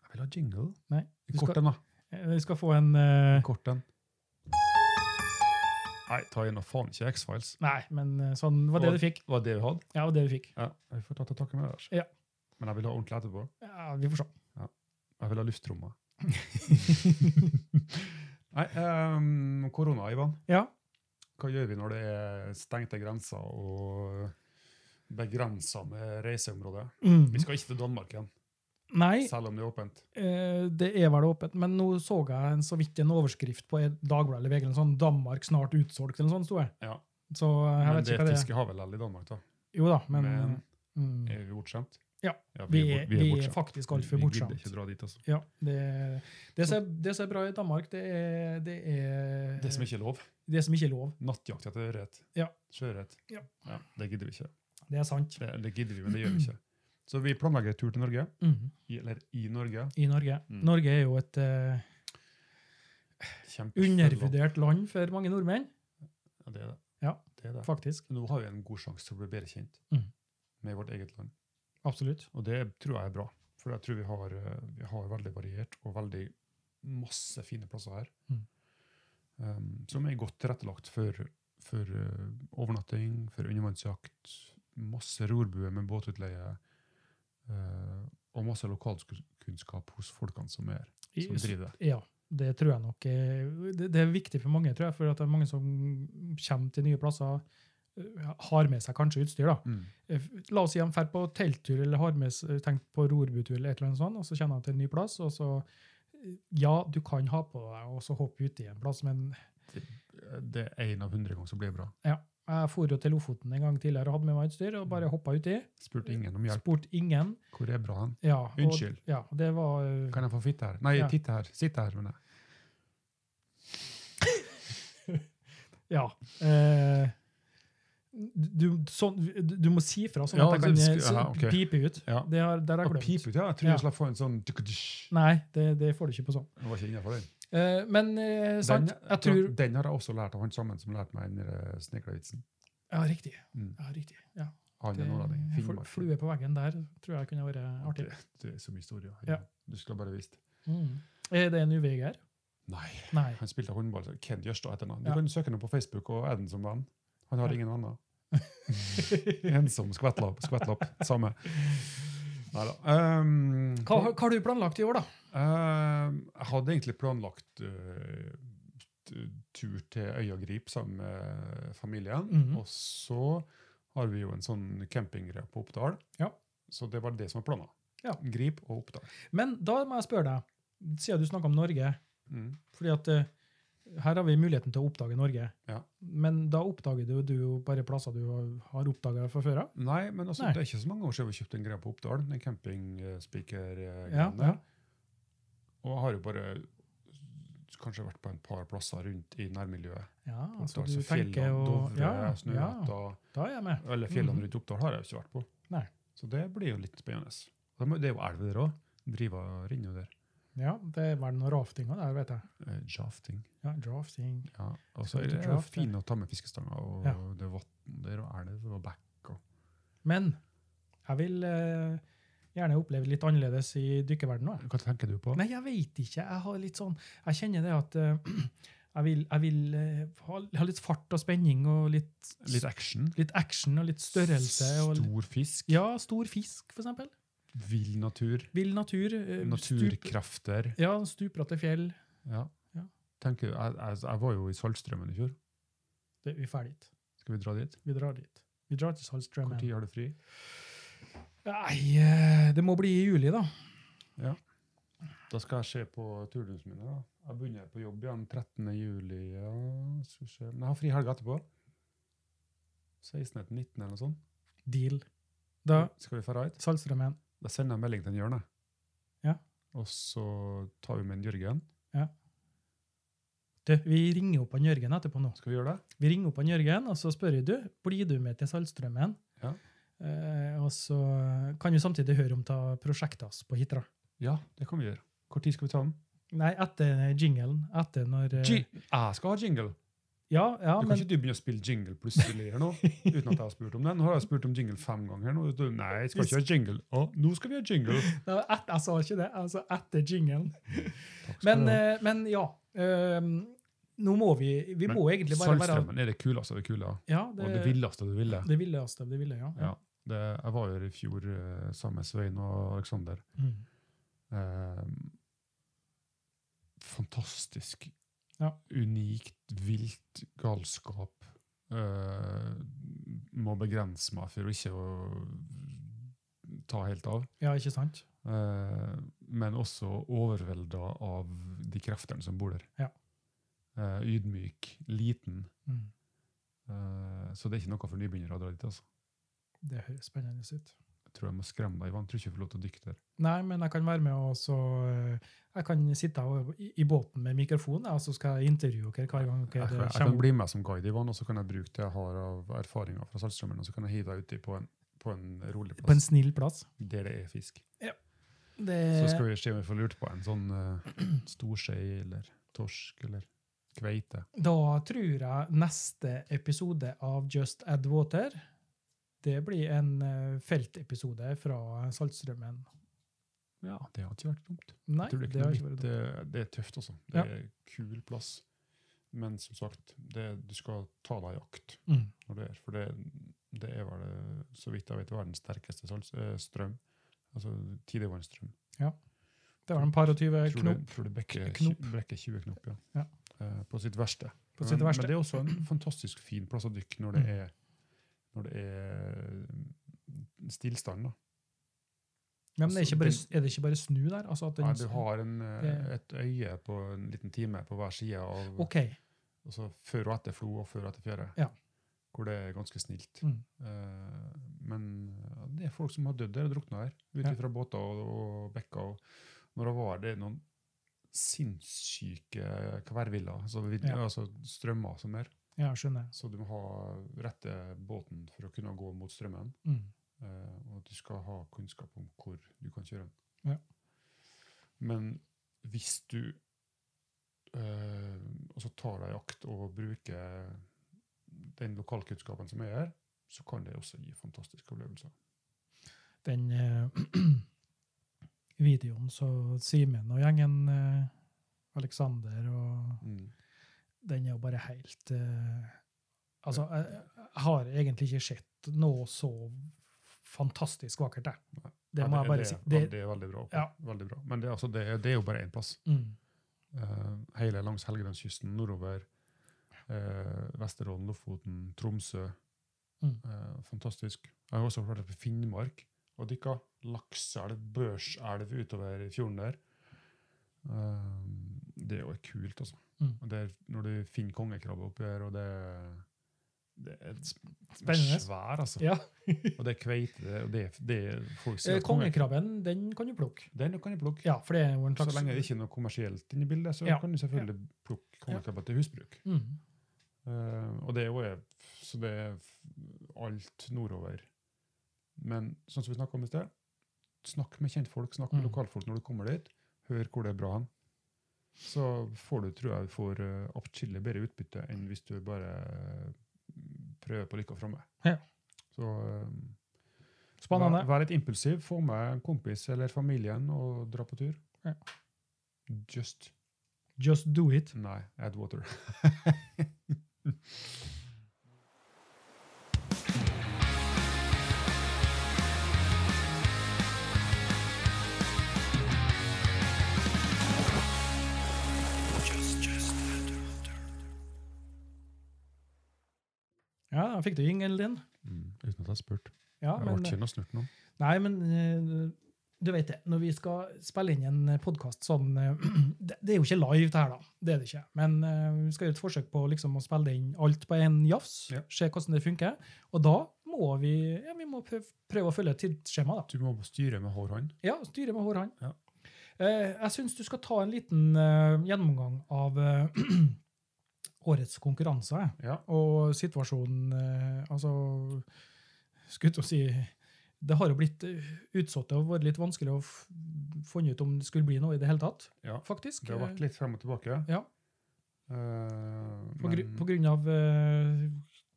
S1: Jeg vil ha jingle.
S2: Nei, du skal-
S1: Kort den, da.
S2: Eh, Vi skal få en eh,
S1: Kort den. Nei, ta igjen og faen ikke X-Files.
S2: Nei, men eh, sånn var det du fikk.
S1: Var det vi hadde?
S2: Ja, var det du fikk.
S1: Ja, vi får ta til takke med det. altså.
S2: Ja.
S1: Men jeg vil ha ordentlig etterpå.
S2: Ja, vi får se.
S1: Jeg vil ha luftrommet. Nei, ehm, korona, Ivan.
S2: Ja.
S1: Hva gjør vi når det er stengte grenser og begrensa med reiseområder?
S2: Mm.
S1: Vi skal ikke til Danmark igjen,
S2: Nei,
S1: selv om det er åpent.
S2: eh, det er vel åpent, men nå så jeg en, så vidt en overskrift på en Dagbladet eller VG, eller noe sånt, 'Danmark snart utsolgt', eller noe sånt, sto det.
S1: Ja.
S2: Så eh, jeg
S1: Men
S2: vet
S1: det
S2: ikke hva det er.
S1: fisket har vel alle i Danmark, da.
S2: Jo da, men,
S1: Men-
S2: mm,
S1: Er vi bortskjemt?
S2: Ja,
S1: vi,
S2: vi,
S1: er,
S2: er,
S1: bort-
S2: vi, er
S1: bortskjemt.
S2: faktisk altfor
S1: Vi gidder
S2: bortskjemt.
S1: ikke dra dit, altså.
S2: Ja, det, det, som, er- det som er bra i Danmark, det er Det, er,
S1: Det som ikke er lov.
S2: det som ikke er lov.
S1: Nattjakt etter ørret.
S2: Ja.
S1: Sjøørret.
S2: Ja.
S1: det gidder vi ikke.
S2: Det er sant.
S1: Det, det gidder vi, men det gjør vi ikke. Så vi planlegger tur til Norge,
S2: Mm.
S1: i- eller i Norge.
S2: I Norge.
S1: Mm.
S2: Norge er jo et eh,
S1: Kjempe-
S2: undervurdert land for mange nordmenn,
S1: Ja, det er det.
S2: Ja.
S1: det, er det.
S2: faktisk.
S1: Nå har vi en god sjanse til å bli bedre kjent
S2: Mm.
S1: med vårt eget land.
S2: Absolutt.
S1: Og det tror jeg er bra, for jeg tror vi har, eh, vi har veldig variert og veldig masse fine plasser her.
S2: Mm.
S1: Um, som er godt tilrettelagt for, for eh, overnatting, for undervannsjakt, masse rorbuer med båtutleie, eh, og masse lokalkunnskap hos folkene som er
S2: I-
S1: som driver det.
S2: Ja, det tror jeg nok er, det, det er viktig for mange, tror jeg, for at det er mange som kommer til nye plasser, eh, har med seg kanskje utstyr da.
S1: Mm.
S2: Eh, La oss si han drar på telttur eller har med s- eh, tenkt på rorbutur eller et eller annet sånt, og så kommer han til en ny plass, og så eh, ja, du kan ha på deg og så hoppe ut i en plass, men
S1: Eh, Det er én av hundre ganger som blir bra.
S2: jeg for jo til Lofoten en gang tidligere og hadde med meg utstyr, og bare hoppa uti.
S1: Spurte ingen om hjelp.
S2: Spurt ingen.
S1: Hvor er bra hen?
S2: Ja, og,
S1: Unnskyld.
S2: Ja, det var eh,
S1: Kan jeg få fitte her? Nei,
S2: Ja.
S1: titte her. Sitte her, mener jeg.
S2: Ja. Eh, du, sånn, du må si fra, sånn
S1: Ja,
S2: at jeg kan
S1: det
S2: eh,
S1: sk- ja, ok.
S2: pipe ut.
S1: Ja.
S2: Det har, der har
S1: Og
S2: jeg glemt.
S1: pipe ut, ja. Jeg tror
S2: Ja.
S1: jeg slapp få en sånn tukadysj.
S2: Nei, det, det får du ikke på sånn.
S1: Det var ikke innenfor den.
S2: Eh, men eh, sant,
S1: Den,
S2: jeg tror
S1: den har jeg også lært av han sammen som lærte meg den der eh, sneklevitsen.
S2: Ja, riktig.
S1: Mm.
S2: Ja, riktig. Ja,
S1: Han
S2: det,
S1: er nordlending.
S2: fl-
S1: Finnmark.
S2: flue på veggen der tror jeg kunne vært artig.
S1: Det, det er så mye historie.
S2: Ja.
S1: Du skulle bare visst.
S2: Mm. Er det en UVG her?
S1: Nei.
S2: Nei.
S1: Han spilte håndball. så Ken Jørstad heter han. Du
S2: Ja.
S1: kan søke ham på Facebook og er den som venn. Han har
S2: Ja.
S1: ingen venner. Ensom skvettlapp. Skvettlapp. Samme. Neida. Um,
S2: Hva, hva har du planlagt i år, da?
S1: Um, jeg hadde egentlig planlagt eh, t- tur til Øya Grip sammen med familien.
S2: Mhm.
S1: Og så har vi jo en sånn campinggreie på Oppdal.
S2: Ja.
S1: Så det var det som var planen.
S2: Ja.
S1: Grip og Oppdal.
S2: Men da må jeg spørre deg, siden du snakker om Norge
S1: Mm.
S2: Fordi at eh, her har vi muligheten til å oppdage Norge.
S1: Ja.
S2: Men da oppdager du, du jo bare plasser du har oppdaga fra før av.
S1: Nei, men altså,
S2: Nei.
S1: det er ikke så mange år siden vi kjøpte en greie på Oppdal. Den campingspikergreiene.
S2: Ja, ja.
S1: Og jeg har jo bare s- kanskje vært på en par plasser rundt i nærmiljøet.
S2: Ja,
S1: På
S2: så
S1: Oppdal,
S2: Altså, du
S1: Sånn så
S2: tenker
S1: fjellene,
S2: å
S1: Dovre,
S2: ja, ja,
S1: Snøhetta
S2: da er jeg med.
S1: Eller fjellene
S2: Mhm.
S1: rundt Oppdal har jeg jo ikke vært på.
S2: Nei.
S1: Så det blir jo litt spennende. Og de- Det er jo elver der òg. Driva renner jo der.
S2: Ja, det er vel noen rafting òg der, vet jeg.
S1: Eh, Jafting.
S2: Ja, drafting.
S1: Ja. Og så
S2: Skal
S1: er
S2: du
S1: det jo
S2: drafte?
S1: fint å ta med fiskestanger, og
S2: Ja.
S1: det er vann der, og elv og bekk. Og.
S2: Men jeg vil eh, gjerne oppleve litt annerledes i dykkerverdenen òg.
S1: Hva tenker du på?
S2: Nei, jeg veit ikke. Jeg har litt sånn Jeg kjenner det at eh, jeg vil, jeg vil eh, ha, ha litt fart og spenning og litt,
S1: Litt action.
S2: litt action og litt størrelse. Og litt,
S1: Stor fisk.
S2: ja, stor fisk, for eksempel.
S1: Vill natur.
S2: Vill natur. eh, Stup,
S1: Naturkrefter.
S2: ja, Stupbratte fjell.
S1: Ja.
S2: Ja.
S1: Tenker, jeg, jeg, jeg var jo i Saltstraumen i fjor.
S2: Det, vi er ferdig.
S1: Skal vi dra dit?
S2: Vi drar dit. Vi drar til Saltstraumen.
S1: Når har du fri?
S2: Nei, eh, det må bli i juli, da.
S1: Da skal jeg se på turnusen min. da. Jeg begynner på jobb igjen 13. juli. Ja, skal vi se. Men jeg har fri helga etterpå. 16. til 19. eller noe sånt.
S2: Deal. Da
S1: Skal vi dra ut?
S2: Saltstraumen.
S1: Da sender jeg en melding til en Jørn. jeg.
S2: Ja.
S1: Og så tar vi med en Jørgen.
S2: Du, vi ringer opp han Jørgen etterpå nå.
S1: Skal vi gjøre det?
S2: Vi ringer opp han Jørgen, og så spør jeg du, blir du med til Saltstraumen?
S1: Ja.
S2: Eh, og så kan vi samtidig høre om ta prosjektet hans på Hitra.
S1: Ja, det kan vi gjøre. Hvor tid skal vi ta den?
S2: Nei, etter jinglen. Etter når eh,
S1: Gi- jeg skal ha jingle!
S2: Ja, ja,
S1: du kan
S2: men
S1: ikke du begynne å spille jingle plutselig her nå, uten at jeg har spurt om den. Nå har jeg spurt om jingle fem ganger. nå. Du, Nei, jeg skal ikke ha jingle. Å, nå skal vi ha jingle!
S2: Nei, et, jeg sa ikke det. Altså etter jinglen.
S1: Takk skal
S2: Men,
S1: du ha.
S2: eh, men ja. eh, nå må vi Vi
S1: Men
S2: må egentlig bare være
S1: Saltstraumen er det kuleste av det kule.
S2: ja,
S1: Og det villeste av det ville.
S2: Det villeste av det ville, ja.
S1: Ja. Det, jeg var jo her i fjor eh, sammen med Svein og Aleksander.
S2: Mm.
S1: Eh, fantastisk.
S2: Ja.
S1: Unikt, vilt, galskap. Eh, må begrense meg for å ikke å ta helt av.
S2: ja, ikke sant?
S1: Eh, men også overvelda av de kreftene som bor der.
S2: Ja.
S1: Eh, ydmyk, liten.
S2: Mm.
S1: Eh, så det er ikke noe for nybegynnere å dra dit. altså.
S2: Det høres spennende ut.
S1: Jeg tror jeg må skremme deg, Ivan. Jeg tror ikke jeg får lov til å dykke der.
S2: Nei, men jeg kan være med og så eh, Jeg kan sitte her i, i båten med mikrofon, jeg, og så skal jeg intervjue dere hver gang
S1: jeg,
S2: dere
S1: jeg, jeg
S2: kommer.
S1: kan bli med som guide, Ivan, og så kan jeg bruke det jeg har av erfaringer fra Saltstraumen, og så kan jeg hive deg uti på en, på en rolig
S2: På en
S1: plass
S2: snill plass.
S1: der det er fisk.
S2: Det,
S1: Så skal vi se om vi får lurt på en sånn uh, storskei eller torsk eller kveite.
S2: Da tror jeg neste episode av Just Add Water det blir en eh, feltepisode fra Saltstraumen.
S1: Ja, det har ikke vært dumt.
S2: Nei,
S1: Jeg tror det, er
S2: det har
S1: ikke
S2: ikke
S1: noe
S2: vært
S1: mitt, eh, det er tøft, altså. Det
S2: Ja.
S1: er kul plass. Men som sagt, det, du skal ta deg i akt
S2: Mm.
S1: når det er For det, det er vel, eh, så vidt jeg vet, verdens sterkeste salts, eh, strøm. Altså tidevannsstrøm.
S2: Det var en par og tyve
S1: Jeg tror det,
S2: Eh, knop
S1: tror det bekker,
S2: Knop.
S1: tju- bekker 20 knop, ja.
S2: Ja.
S1: Eh, på sitt verste.
S2: på sitt
S1: men,
S2: verste.
S1: men det er også en fantastisk fin plass å dykke når det
S2: Mm.
S1: er, når det er mm, stillstand. da.
S2: Ja, men er, det
S1: altså,
S2: ikke bare,
S1: den-
S2: er det ikke bare snu der? Altså at den,
S1: Nei, du har en,
S2: det-
S1: eh, et øye på en liten time på hver side av
S2: OK.
S1: altså før og etter flo og før og etter fjære,
S2: Ja.
S1: hvor det er ganske snilt.
S2: Mm.
S1: Eh, men ja, det er folk som har dødd der og drukna der, ut
S2: Ja.
S1: ifra båter og, og bekker. Og når det var det er noen sinnssyke kverviller, altså, vid-
S2: Ja.
S1: altså strømmer som er,
S2: Ja, skjønner.
S1: så du må ha rette båten for å kunne gå mot strømmen.
S2: Mm.
S1: Eh, og at du skal ha kunnskap om hvor du kan kjøre den.
S2: Ja.
S1: Men hvis du eh, også tar deg i akt og bruker den lokalkunnskapen som er her, så kan det også gi fantastiske opplevelser.
S2: Den eh, videoen så Simen og gjengen eh, Alexander og den er jo bare helt eh, Altså, jeg, jeg har egentlig ikke sett noe så fantastisk vakkert der.
S1: Nei.
S2: Det må
S1: Ja,
S2: jeg bare
S1: det,
S2: si.
S1: Det,
S2: Det,
S1: det er veldig bra.
S2: Ja.
S1: Veldig bra. Men det, er altså, det, er- det er jo bare én plass.
S2: mm,
S1: Eh, hele langs Helgelandskysten, nordover, eh, Vesterålen, Lofoten, Tromsø.
S2: Mm.
S1: Eh, fantastisk. Jeg har også vært på Finnmark og dykka lakseelv, børselv utover i fjorden der. Eh, det er jo kult, altså.
S2: Mm.
S1: Og det er når du finner kongekrabbe oppi her, og det er, det er
S2: Spennende.
S1: svær, altså.
S2: ja.
S1: Og det er kveite, det, og det, er- det er folk sier
S2: Eh,
S1: at konge-
S2: Kongekrabben, den kan du plukke.
S1: Den kan jeg plukke.
S2: Ja, for det er jo en
S1: Så
S2: slags
S1: lenge det ikke er noe kommersielt inne i bildet, så
S2: Ja.
S1: kan du selvfølgelig plukke kongekrabbe til husbruk.
S2: mm,
S1: Eh, og det er jo er- så det er f- alt nordover. Men sånn som vi snakka om i sted, snakk med kjentfolk, snakk med
S2: Mm.
S1: lokalfolk når du kommer dit. Hør hvor det er bra hen. Så får du, tror jeg, får uh, atskillig bedre utbytte enn hvis du bare eh, prøver på lykka framme.
S2: Ja.
S1: Så eh,
S2: Spennende.
S1: vær, vær litt impulsiv. Få med en kompis eller familien og dra på tur.
S2: Ja.
S1: Just
S2: Just do it.
S1: Nei, add water.
S2: Ja, da fikk du jingelen din.
S1: Mm. Uten at jeg har spurt.
S2: Ja,
S1: Jeg
S2: men,
S1: ble ikke noe snurt nå.
S2: nei, men eh, du vet det. Når vi skal spille inn en podkast sånn eh, det, det er jo ikke live, det her, da. Det er det ikke. Men eh, vi skal gjøre et forsøk på liksom, å spille inn alt på én jafs.
S1: Ja.
S2: Se hvordan det funker. Og da må vi, ja, vi må prøve, prøve å følge et tidsskjema, da.
S1: Du må styre med hård hånd.
S2: Ja, styre med hård hånd.
S1: Ja.
S2: Eh, jeg syns du skal ta en liten eh, gjennomgang av eh, årets konkurranser jeg.
S1: Ja.
S2: og situasjonen eh, Altså, skulle til å si Det har jo blitt eh, utsatt og vært litt vanskelig å f- finne ut om det skulle bli noe i det hele tatt,
S1: Ja,
S2: faktisk.
S1: Det har vært litt frem og tilbake.
S2: Ja.
S1: Eh,
S2: På, gru,
S1: men-
S2: på grunn av eh,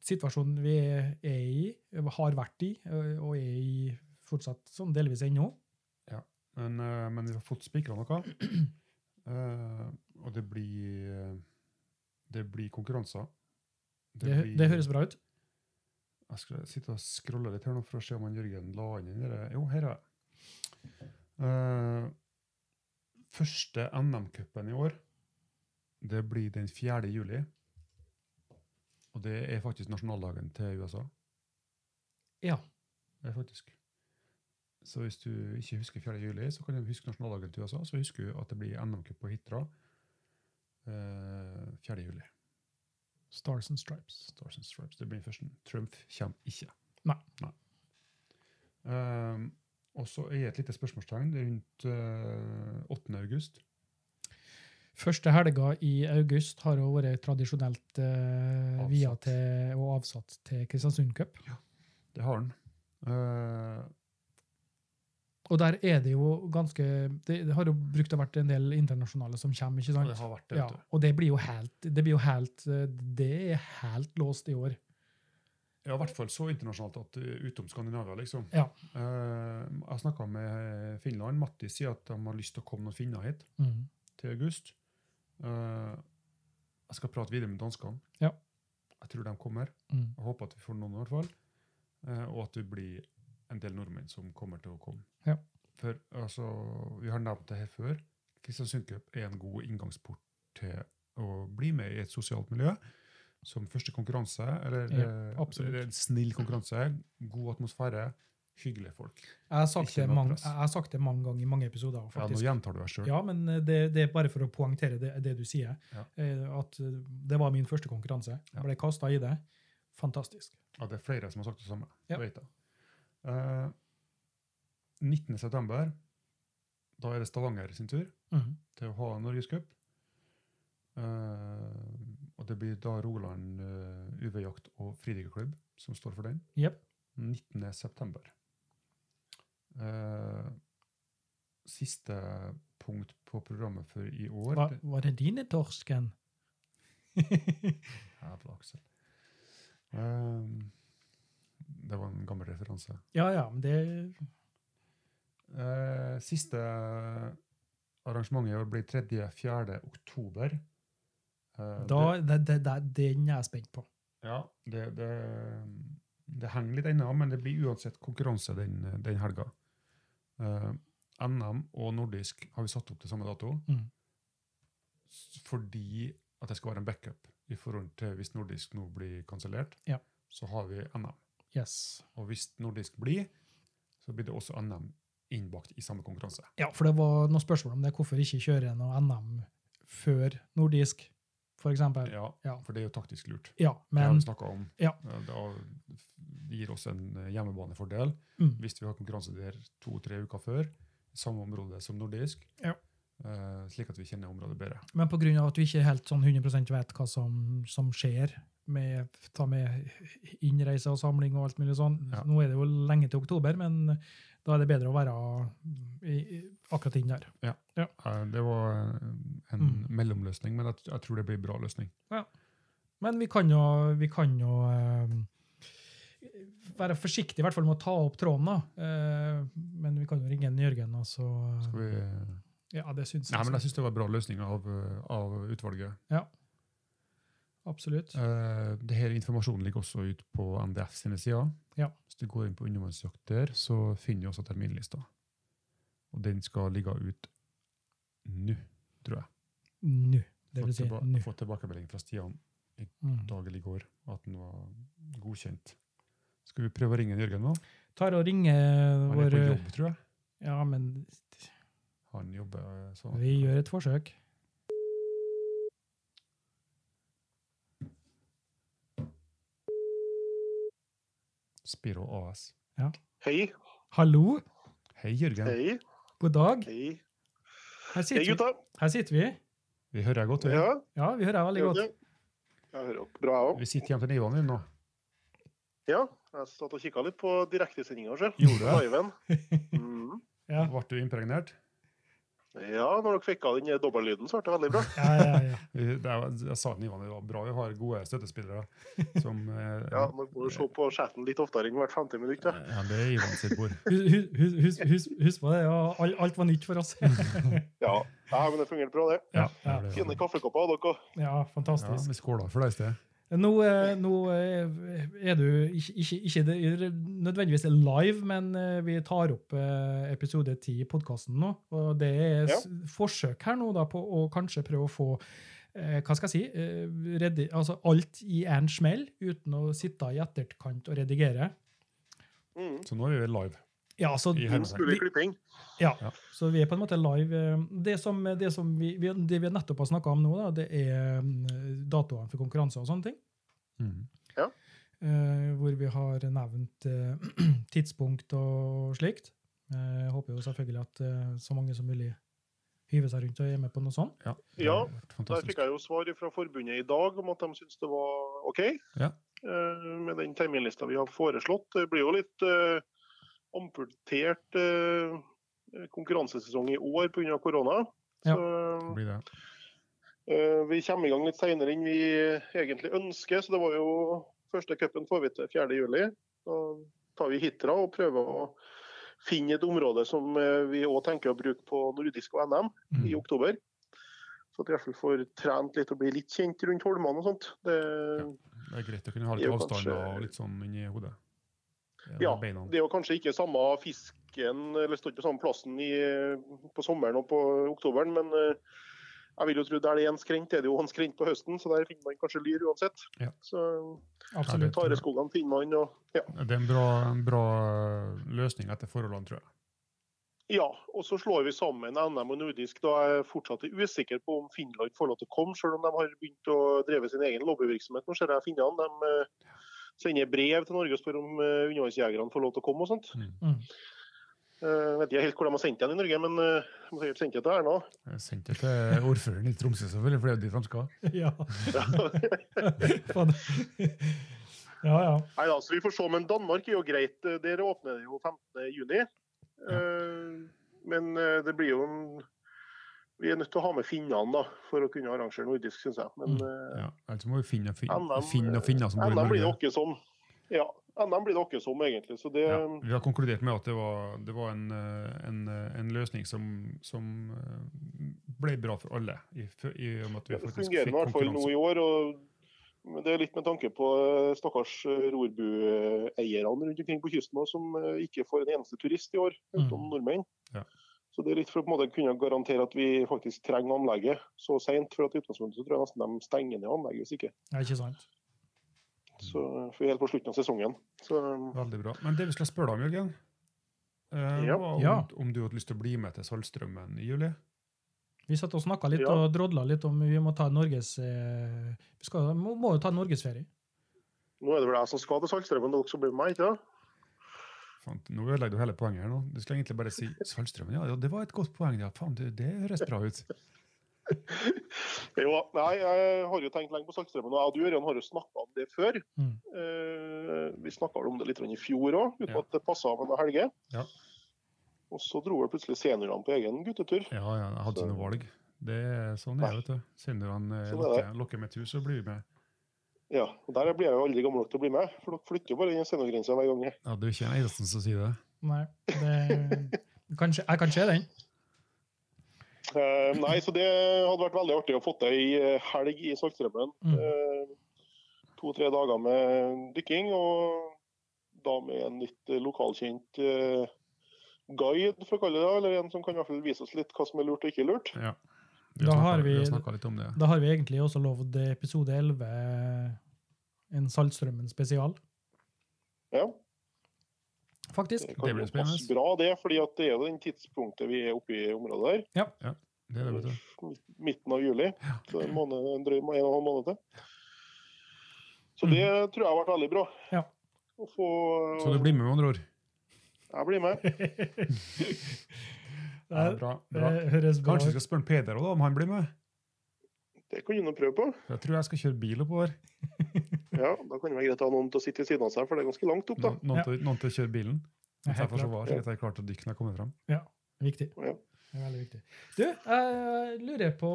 S2: situasjonen vi er i, har vært i, eh, og er i fortsatt sånn delvis ennå.
S1: men, eh, men vi har fått spikra noe. Eh, og det blir eh, Det blir konkurranser.
S2: Det, hø- det høres bra ut.
S1: Jeg skal sitte og scrolle litt her nå for å se om han Jørgen la inn den der. Jo, her er det. Eh, første NM-cupen i år, det blir den 4. juli. Og det er faktisk nasjonaldagen til USA.
S2: Ja.
S1: Det er faktisk. Så hvis du ikke husker 4. juli, så kan du huske nasjonaldagen til USA, så husker du at det blir NM-cup på Hitra eh, 4. juli.
S2: Stars and Stripes.
S1: Stars and Stripes. Det blir den første. Trump kommer ikke.
S2: Nei.
S1: Ehm, og så er et lite spørsmålstegn rundt eh, 8. august.
S2: Første helga i august har jo vært tradisjonelt eh, via
S1: Avsatt.
S2: til og avsatt til Kristiansund Cup.
S1: Det har den. Eh,
S2: Og der er det jo ganske Det, det har jo brukt å vært en del internasjonale som kommer, ikke
S1: og det
S2: sant?
S1: har vært det.
S2: Ja,
S1: vet du.
S2: og det blir jo helt Det blir jo helt eh, Det er helt låst i år.
S1: Ja, i hvert fall så internasjonalt at eh, utom Skandinavia, liksom.
S2: Ja.
S1: Eh, jeg snakka med eh, Finland. Matti sier at de har lyst til å komme noen finner hit
S2: Mm.
S1: til august. Eh, jeg skal prate videre med danskene.
S2: Ja.
S1: Jeg tror de kommer.
S2: Mm.
S1: Jeg håper at vi får noen i hvert fall. Eh, og at det blir en del nordmenn som kommer til å komme.
S2: Ja.
S1: For altså, vi har nevnt det her før. Kristiansund Cup er en god inngangsport til å bli med i et sosialt miljø. Som første konkurranse, eller
S2: Ja,
S1: eh,
S2: absolutt.
S1: eller en snill konkurranse. God atmosfære, hyggelige folk.
S2: Jeg har sagt,
S1: Ikke
S2: det
S1: noe
S2: mange,
S1: press.
S2: jeg har sagt det mange ganger i mange episoder.
S1: Ja, nå
S2: faktisk.
S1: gjentar du deg sjøl.
S2: Ja, men eh, det, det er bare for å poengtere det, det du sier.
S1: Ja.
S2: Eh, At eh, det var min første konkurranse.
S1: Ja.
S2: Jeg ble kasta i det. Fantastisk.
S1: Ja, det er flere som har sagt det samme.
S2: Ja.
S1: Jeg vet det. Eh, 19. september, da er det Stavanger sin tur
S2: Mhm.
S1: til å ha Norgescup. Eh, og det blir da Rogaland eh, UV-jakt og fridykkerklubb som står for den.
S2: Jep.
S1: 19. september. Eh, siste punkt på programmet for i år
S2: Hva, var det dine torsken?
S1: Jævla Aksel. Eh, det var en gammel referanse.
S2: ja, ja, men det
S1: Eh, siste arrangementet i år blir 3.-4. oktober. Eh,
S2: da, det, det, det, Den er jeg spent på.
S1: det, ja, det, det, det henger litt ennå, men det blir uansett konkurranse den, den helga. Eh, NM og nordisk har vi satt opp til samme dato
S2: Mm.
S1: s- fordi at det skal være en backup i forhold til hvis nordisk nå blir kansellert.
S2: Ja.
S1: Så har vi NM.
S2: Yes.
S1: Og hvis nordisk blir, så blir det også NM innbakt i samme konkurranse.
S2: Ja, for det var noen spørsmål om det. Hvorfor ikke kjøre noe NM før nordisk, for eksempel?
S1: Ja,
S2: Ja.
S1: For det er jo taktisk lurt.
S2: Ja,
S1: Det har
S2: men
S1: vi snakket om.
S2: Ja.
S1: Eh, Da det gir oss en eh, hjemmebanefordel
S2: mm,
S1: hvis vi har konkurranse der to-tre uker før, i samme område som nordisk,
S2: Ja.
S1: eh, slik at vi kjenner området bedre.
S2: Men på grunn av at du ikke helt sånn 100 vet hva som, som skjer, med, ta med innreise og samling og alt mulig sånn.
S1: Ja.
S2: Nå er det jo lenge til oktober, men da er det bedre å være i, i, akkurat inn der.
S1: Eh, Det var eh, en
S2: Mm.
S1: mellomløsning, men jeg, t- jeg tror det blir en bra løsning.
S2: Men vi kan jo, vi kan jo eh, være forsiktige, i hvert fall med å ta opp tråden. da. Eh, men vi kan jo ringe en Jørgen, og så
S1: Skal vi...
S2: Ja, det syns
S1: Nei, men
S2: jeg.
S1: jeg synes det var en bra løsning av, eh, av utvalget.
S2: Absolutt.
S1: Uh, det her informasjonen ligger også ut på NDF sine sider.
S2: Ja.
S1: Hvis du går inn på undervannsjakt der, så finner du også terminlista. Og den skal ligge ut nå, tror jeg.
S2: Nå. Det
S1: Fått
S2: vil si
S1: tilba-
S2: nå.
S1: fått tilbakemelding fra Stian
S2: Mm.
S1: dag eller i går at den var godkjent. Skal vi prøve å ringe Jørgen nå?
S2: Tar og ringer eh,
S1: Han er
S2: vår
S1: på jobb, tror jeg.
S2: Ja, men
S1: Han jobber eh, sånn.
S2: vi gjør et forsøk.
S1: Spiro AS.
S3: Hei,
S2: Hallo,
S1: Hei, Jørgen.
S3: hei,
S2: god dag.
S3: hei.
S2: Her
S3: Hei,
S2: sitter vi.
S3: gutta.
S2: Her sitter vi.
S1: Vi hører deg godt. Vi,
S3: Ja,
S2: Ja, vi hører deg veldig
S3: gjør
S2: godt.
S3: det. Jeg hører opp. Bra òg.
S1: vi sitter hjemme til Ivan din nå.
S3: Ja, jeg satt og kikka litt på direktesendinga sjøl.
S1: Gjorde du det?
S3: Liven. Mm.
S2: Ja,
S1: Ble du impregnert?
S3: Ja, når dere fikk av den dobbellyden, så ble det veldig bra.
S2: ja, ja. ja.
S1: Vi- det er- Jeg sa til Ivan det var bra vi har gode støttespillere. Som, eh,
S3: Ja, Nå må du se på chatten litt oftere enn hvert femte minutt. da.
S1: ja, det er Ivan sitt bord.
S2: Hus- hus- hus- hus- hus- Husk på det, ja, all- alt var nytt for oss.
S3: Ja, ja men det fungerte bra, det.
S2: Ja,
S1: Ja,
S2: ja.
S1: det er
S3: Fine
S1: det.
S3: kaffekopper av dere òg.
S2: ja
S1: Ja,
S2: fantastisk.
S1: vi skåler for deg i sted.
S2: Nå, eh, nå eh, er du ikke, ikke, ikke det- nødvendigvis live, men eh, vi tar opp eh, episode 10 i podkasten nå. Og det er s- forsøk her nå da på å kanskje prøve å få eh, hva skal jeg si, eh, redi, altså alt i en smell, uten å sitte i etterkant og redigere.
S3: Mm.
S1: Så nå er vi live.
S2: Ja, så,
S1: I
S3: Minst mulig klipping.
S2: ja,
S1: Ja.
S2: så vi er på en måte live. eh, Det som, det som vi, vi, det vi nettopp har snakka om nå, da, det er eh, datoene for konkurranser og sånne ting.
S1: Mm.
S2: eh, hvor vi har nevnt eh, tidspunkt og slikt. Eh, Jeg håper jo selvfølgelig at eh, så mange som mulig hyver seg rundt og er med på noe sånt.
S1: Ja, det
S3: Ja,
S1: har vært
S3: Der
S1: fantastisk.
S3: fikk jeg jo svar fra forbundet i dag om at de syns det var OK.
S1: Ja.
S3: Eh, Med den terminlista vi har foreslått. Det blir jo litt eh, amputert eh, konkurransesesong i år pga. korona.
S2: Ja.
S3: Så
S1: Blir det.
S3: eh, vi kommer i gang litt seinere enn vi egentlig ønsker, så det var jo Første cupen får vi til 4.7. Da tar vi hitra og prøver å finne et område som eh, vi òg tenker å bruke på nordisk og NM i oktober. Så at vi i hvert fall får trent litt og bli litt kjent rundt holmene og sånt. Det,
S1: Det er greit å kunne ha
S3: Det
S1: litt
S3: er jo
S1: avstander
S3: kanskje-
S1: og litt sånn inni hodet. Eh,
S3: Ja,
S1: beina.
S3: det er jo kanskje ikke samme fisken, eller står ikke på samme plassen i, på sommeren og på oktoberen, men eh, jeg vil jo tro der det er en skrent, er det jo en skrent på høsten, så der finner man kanskje lyr uansett.
S1: Ja.
S3: Så
S2: Absolutt.
S1: Ja, det-
S3: tareskogene finner man, og ja.
S1: Det er en bra, en bra eh, løsning etter forholdene, tror jeg.
S3: ja. Og så slår vi sammen NM og nordisk, da jeg er fortsatt er usikker på om Finland får lov til å komme, selv om de har begynt å dreve sin egen lobbyvirksomhet. Nå ser jeg finnene, de eh, sender brev til Norge og spør om eh, undervannsjegerne får lov til å komme og sånt.
S2: Mm.
S3: Jeg vet ikke helt hvor de har sendt den i Norge, men eh, de har sikkert sendt den til Erna.
S1: Jeg sendte det til ordføreren i Tromsø, selvfølgelig, for det er jo dit de skal.
S2: Ja.
S3: Nei
S2: Fader. ja, ja.
S3: da, så vi får se. Men Danmark er jo greit. Eh, Dere åpner jo 15.6.
S1: Ja.
S3: Men eh, det blir jo en Vi er nødt til å ha med finnene da, for å kunne arrangere nordisk, syns jeg. Men eh,
S1: Ja, ellers må vi finne, finne,
S3: NM,
S1: finne og finne som bor i
S3: NM blir det
S1: Norge.
S3: åkke som. Ja, NM blir det åkke som, egentlig. Så det
S1: Ja, vi har konkludert med at det var, det var en, eh, en, eh, en løsning som, som eh, ble bra for alle. I, f- i og med at vi
S3: Det
S1: faktisk
S3: fungerer
S1: fikk
S3: i hvert fall nå
S1: konkurranse.
S3: i år. og men Det er litt med tanke på eh, stakkars eh, rorbueierne rundt omkring på kysten også, som eh, ikke får en eneste turist i år, utenom
S2: Mm.
S3: nordmenn.
S1: Ja.
S3: Så Det er litt for å på en måte kunne garantere at vi faktisk trenger anlegget så seint. For at i utgangspunktet så tror jeg nesten de stenger ned anlegget hvis ikke.
S2: ja, ikke sant.
S1: Mm.
S3: Så for vi er helt på slutten av sesongen. Så eh,
S1: Veldig bra. Men det vi skal spørre deg om, Jørgen, eh,
S3: Ja.
S1: var om,
S2: Ja.
S1: om du hadde lyst til å bli med til Saltstraumen i juli?
S2: Vi satt og snakka litt
S3: Ja.
S2: og drodla litt om vi må ta Norges eh, Vi skal, må, må jo ta Norgesferie.
S3: nå er det vel jeg som skal til Saltstraumen, dere som blir med meg, ikke sant?
S1: Fant, nå ødelegger du hele poenget her nå. Du skulle egentlig bare si Saltstraumen. Ja, ja, det var et godt poeng. Ja, faen, det, det høres bra ut.
S3: Jo, nei, jeg har jo tenkt lenge på Saltstraumen. Og jeg og du Ørjan, har jo snakka om det før.
S2: Mm.
S3: Eh, vi snakka om det litt i fjor òg, uten
S1: Ja.
S3: at det passa med noen helger.
S1: Ja.
S3: Og så dro vel plutselig seniorene på egen guttetur.
S1: Ja, ja, jeg hadde
S3: Så-
S1: ikke noe valg. Det er sånn er det, vet du. Seniorene eh,
S3: Sånn er
S1: lokker,
S3: det.
S1: lokker med tur, så blir vi med.
S3: Ja, og Der blir jeg jo aldri gammel nok til å bli med, for dere flytter jo bare den seniorgrensa hver gang.
S1: Ja, det er jo ikke en eneste som sier det.
S2: Nei, det, kanskje, jeg kan se den.
S3: Eh, nei, så det hadde vært veldig artig å få til ei eh, helg i Saltstraumen. Eh,
S2: Mm.
S3: To-tre dager med dykking, og da med en litt eh, lokalkjent eh, guide, for å kalle det det, eller en som kan i hvert fall vise oss litt hva som er lurt og ikke lurt.
S1: Ja.
S2: Da har
S1: snakket-
S2: vi-
S1: vi har snakka litt om det.
S2: Da har vi egentlig også lovd episode 11 en Saltstrømmen spesial,
S3: Ja.
S2: faktisk.
S3: Det kan
S1: Det blir
S3: jo passe
S1: spennende.
S3: bra, det. fordi at det er jo den tidspunktet vi er oppe i området der.
S1: Det er det, vet du.
S3: Midten av juli. Så en, måned, en drøy må- en og en halv måned til. Så
S1: Mm.
S3: det tror jeg har vært veldig bra.
S2: Ja.
S3: Å få,
S1: Så du blir med, med andre ord?
S3: Jeg blir med.
S2: Det,
S1: Ja, eh, bra, bra.
S2: det høres bra
S1: Kanskje vi
S2: ut.
S1: skal spørre Peder også, da, om han blir med?
S3: Det kan du nå prøve på.
S1: For Jeg tror jeg skal kjøre bil oppover.
S3: Ja, Da kan det være greit å ha noen til å sitte ved siden av seg, for det er ganske langt opp, da.
S1: Noen, noen, til, noen til å kjøre bilen.
S2: Ja,
S1: Så
S2: helt
S1: jeg får så
S2: klart.
S1: var, slik at jeg er klar til å dykke når jeg kommer fram.
S2: Viktig.
S1: Mm.
S3: Ja.
S2: Det er veldig viktig. Du, jeg lurer på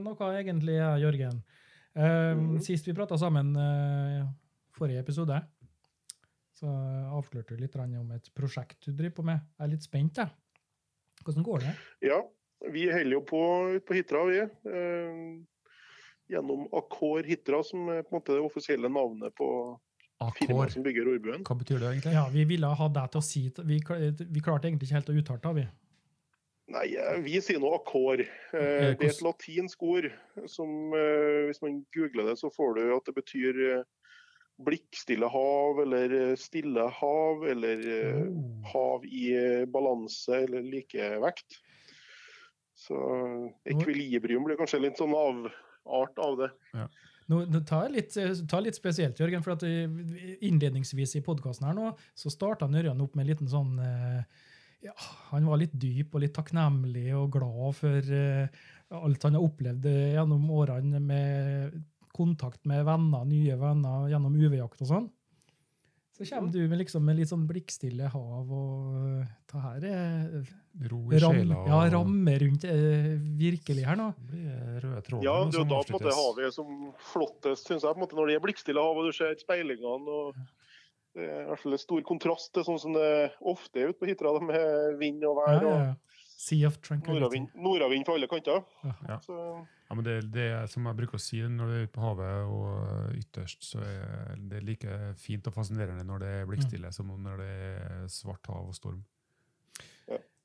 S2: noe egentlig, jeg, Jørgen. Eh,
S3: Mhm.
S2: Sist vi prata sammen, eh, forrige episode, så avslørte du litt grann om et prosjekt du driver på med. Jeg er litt spent, jeg. Hvordan går det?
S3: Ja, vi holder jo på ute på Hitra, vi. Eh, gjennom Accor Hitra, som er på en måte det offisielle navnet på firmaet
S1: Akkord.
S3: som bygger Rorbuen.
S1: Hva betyr det egentlig?
S2: Ja, Vi ville ha deg til å si Vi, kla- vi klarte egentlig ikke helt å uttale det, vi.
S3: Nei, eh, vi sier nå akkord.
S1: Eh,
S3: Eh, Det er et
S1: hvordan-
S3: latinsk ord som eh, hvis man googler det, så får du at det betyr eh, blikkstille hav, eller eh, stille hav, eller eh,
S1: Oh.
S3: hav i eh, balanse eller likevekt. Så ekvilibrium blir kanskje litt sånn avart av det.
S2: Nå, nå ta, litt, ta litt spesielt, Jørgen, for at eh, innledningsvis i podkasten her nå, så starta Ørjan opp med en liten sånn eh, ja, Han var litt dyp og litt takknemlig og glad for eh, alt han har opplevd eh, gjennom årene med kontakt med venner, nye venner, gjennom UV-jakt og sånn. Så kommer du med, liksom, med litt sånn blikkstille hav og eh, Det her er
S1: Ro i
S2: ram,
S1: sjela.
S2: ja, ramme rundt eh, virkelig her nå.
S1: Det blir eh, røde tråden
S3: Ja, det er jo
S1: som
S3: da på en måte
S1: sånn avsluttes.
S3: havet er som flottest, syns jeg. på en måte Når det er blikkstille hav og du ser speilingene og det er i hvert fall en stor kontrast til sånn som det ofte er ute på Hitra, da, med vind
S2: Ja,
S3: og vær
S2: ja,
S3: og
S2: ja. Sea of Tranquility.
S3: nordavind nordavind på alle kanter.
S1: Ja.
S3: Så
S1: Ja, men det, det er som jeg bruker å si når du er ute på havet og eh, ytterst, så er det like fint og fascinerende når det er blikkstille som når det er svart hav og storm.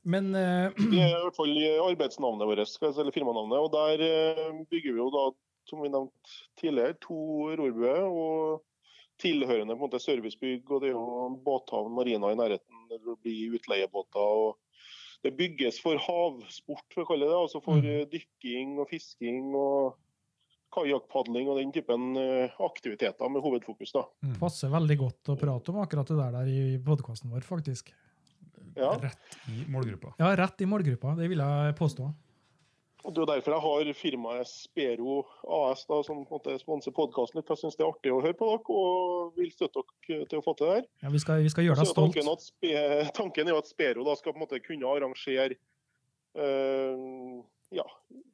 S2: Men eh,
S3: det er i hvert fall eh, arbeidsnavnet vårt, skal jeg si, eller firmanavnet. Og der eh, bygger vi jo da, som vi nevnte tidligere, to rorbuer og tilhørende på en måte servicebygg. Og det er jo en båthavn, marina i nærheten, der det blir utleiebåter. og Det bygges for havsport, for å kalle det det. Altså for
S2: Mm.
S3: eh, dykking og fisking og kajakkpadling og den typen eh, aktiviteter med hovedfokus. da.
S1: Mm.
S2: passer veldig godt å prate om akkurat det der, der i podkasten vår, faktisk.
S3: Ja.
S1: Rett i målgruppa.
S2: Ja, rett i målgruppa, det vil jeg påstå.
S3: Og Det er jo derfor jeg har firmaet Spero AS da, som på en måte sponser podkasten litt. for Jeg syns det er artig å høre på dere og vil støtte dere til å få til det her.
S2: Ja, vi, skal, vi skal gjøre
S3: Så
S2: deg
S3: er
S2: stolt.
S3: tanken, at spe, tanken er jo at Spero da skal på en måte kunne arrangere eh, ja,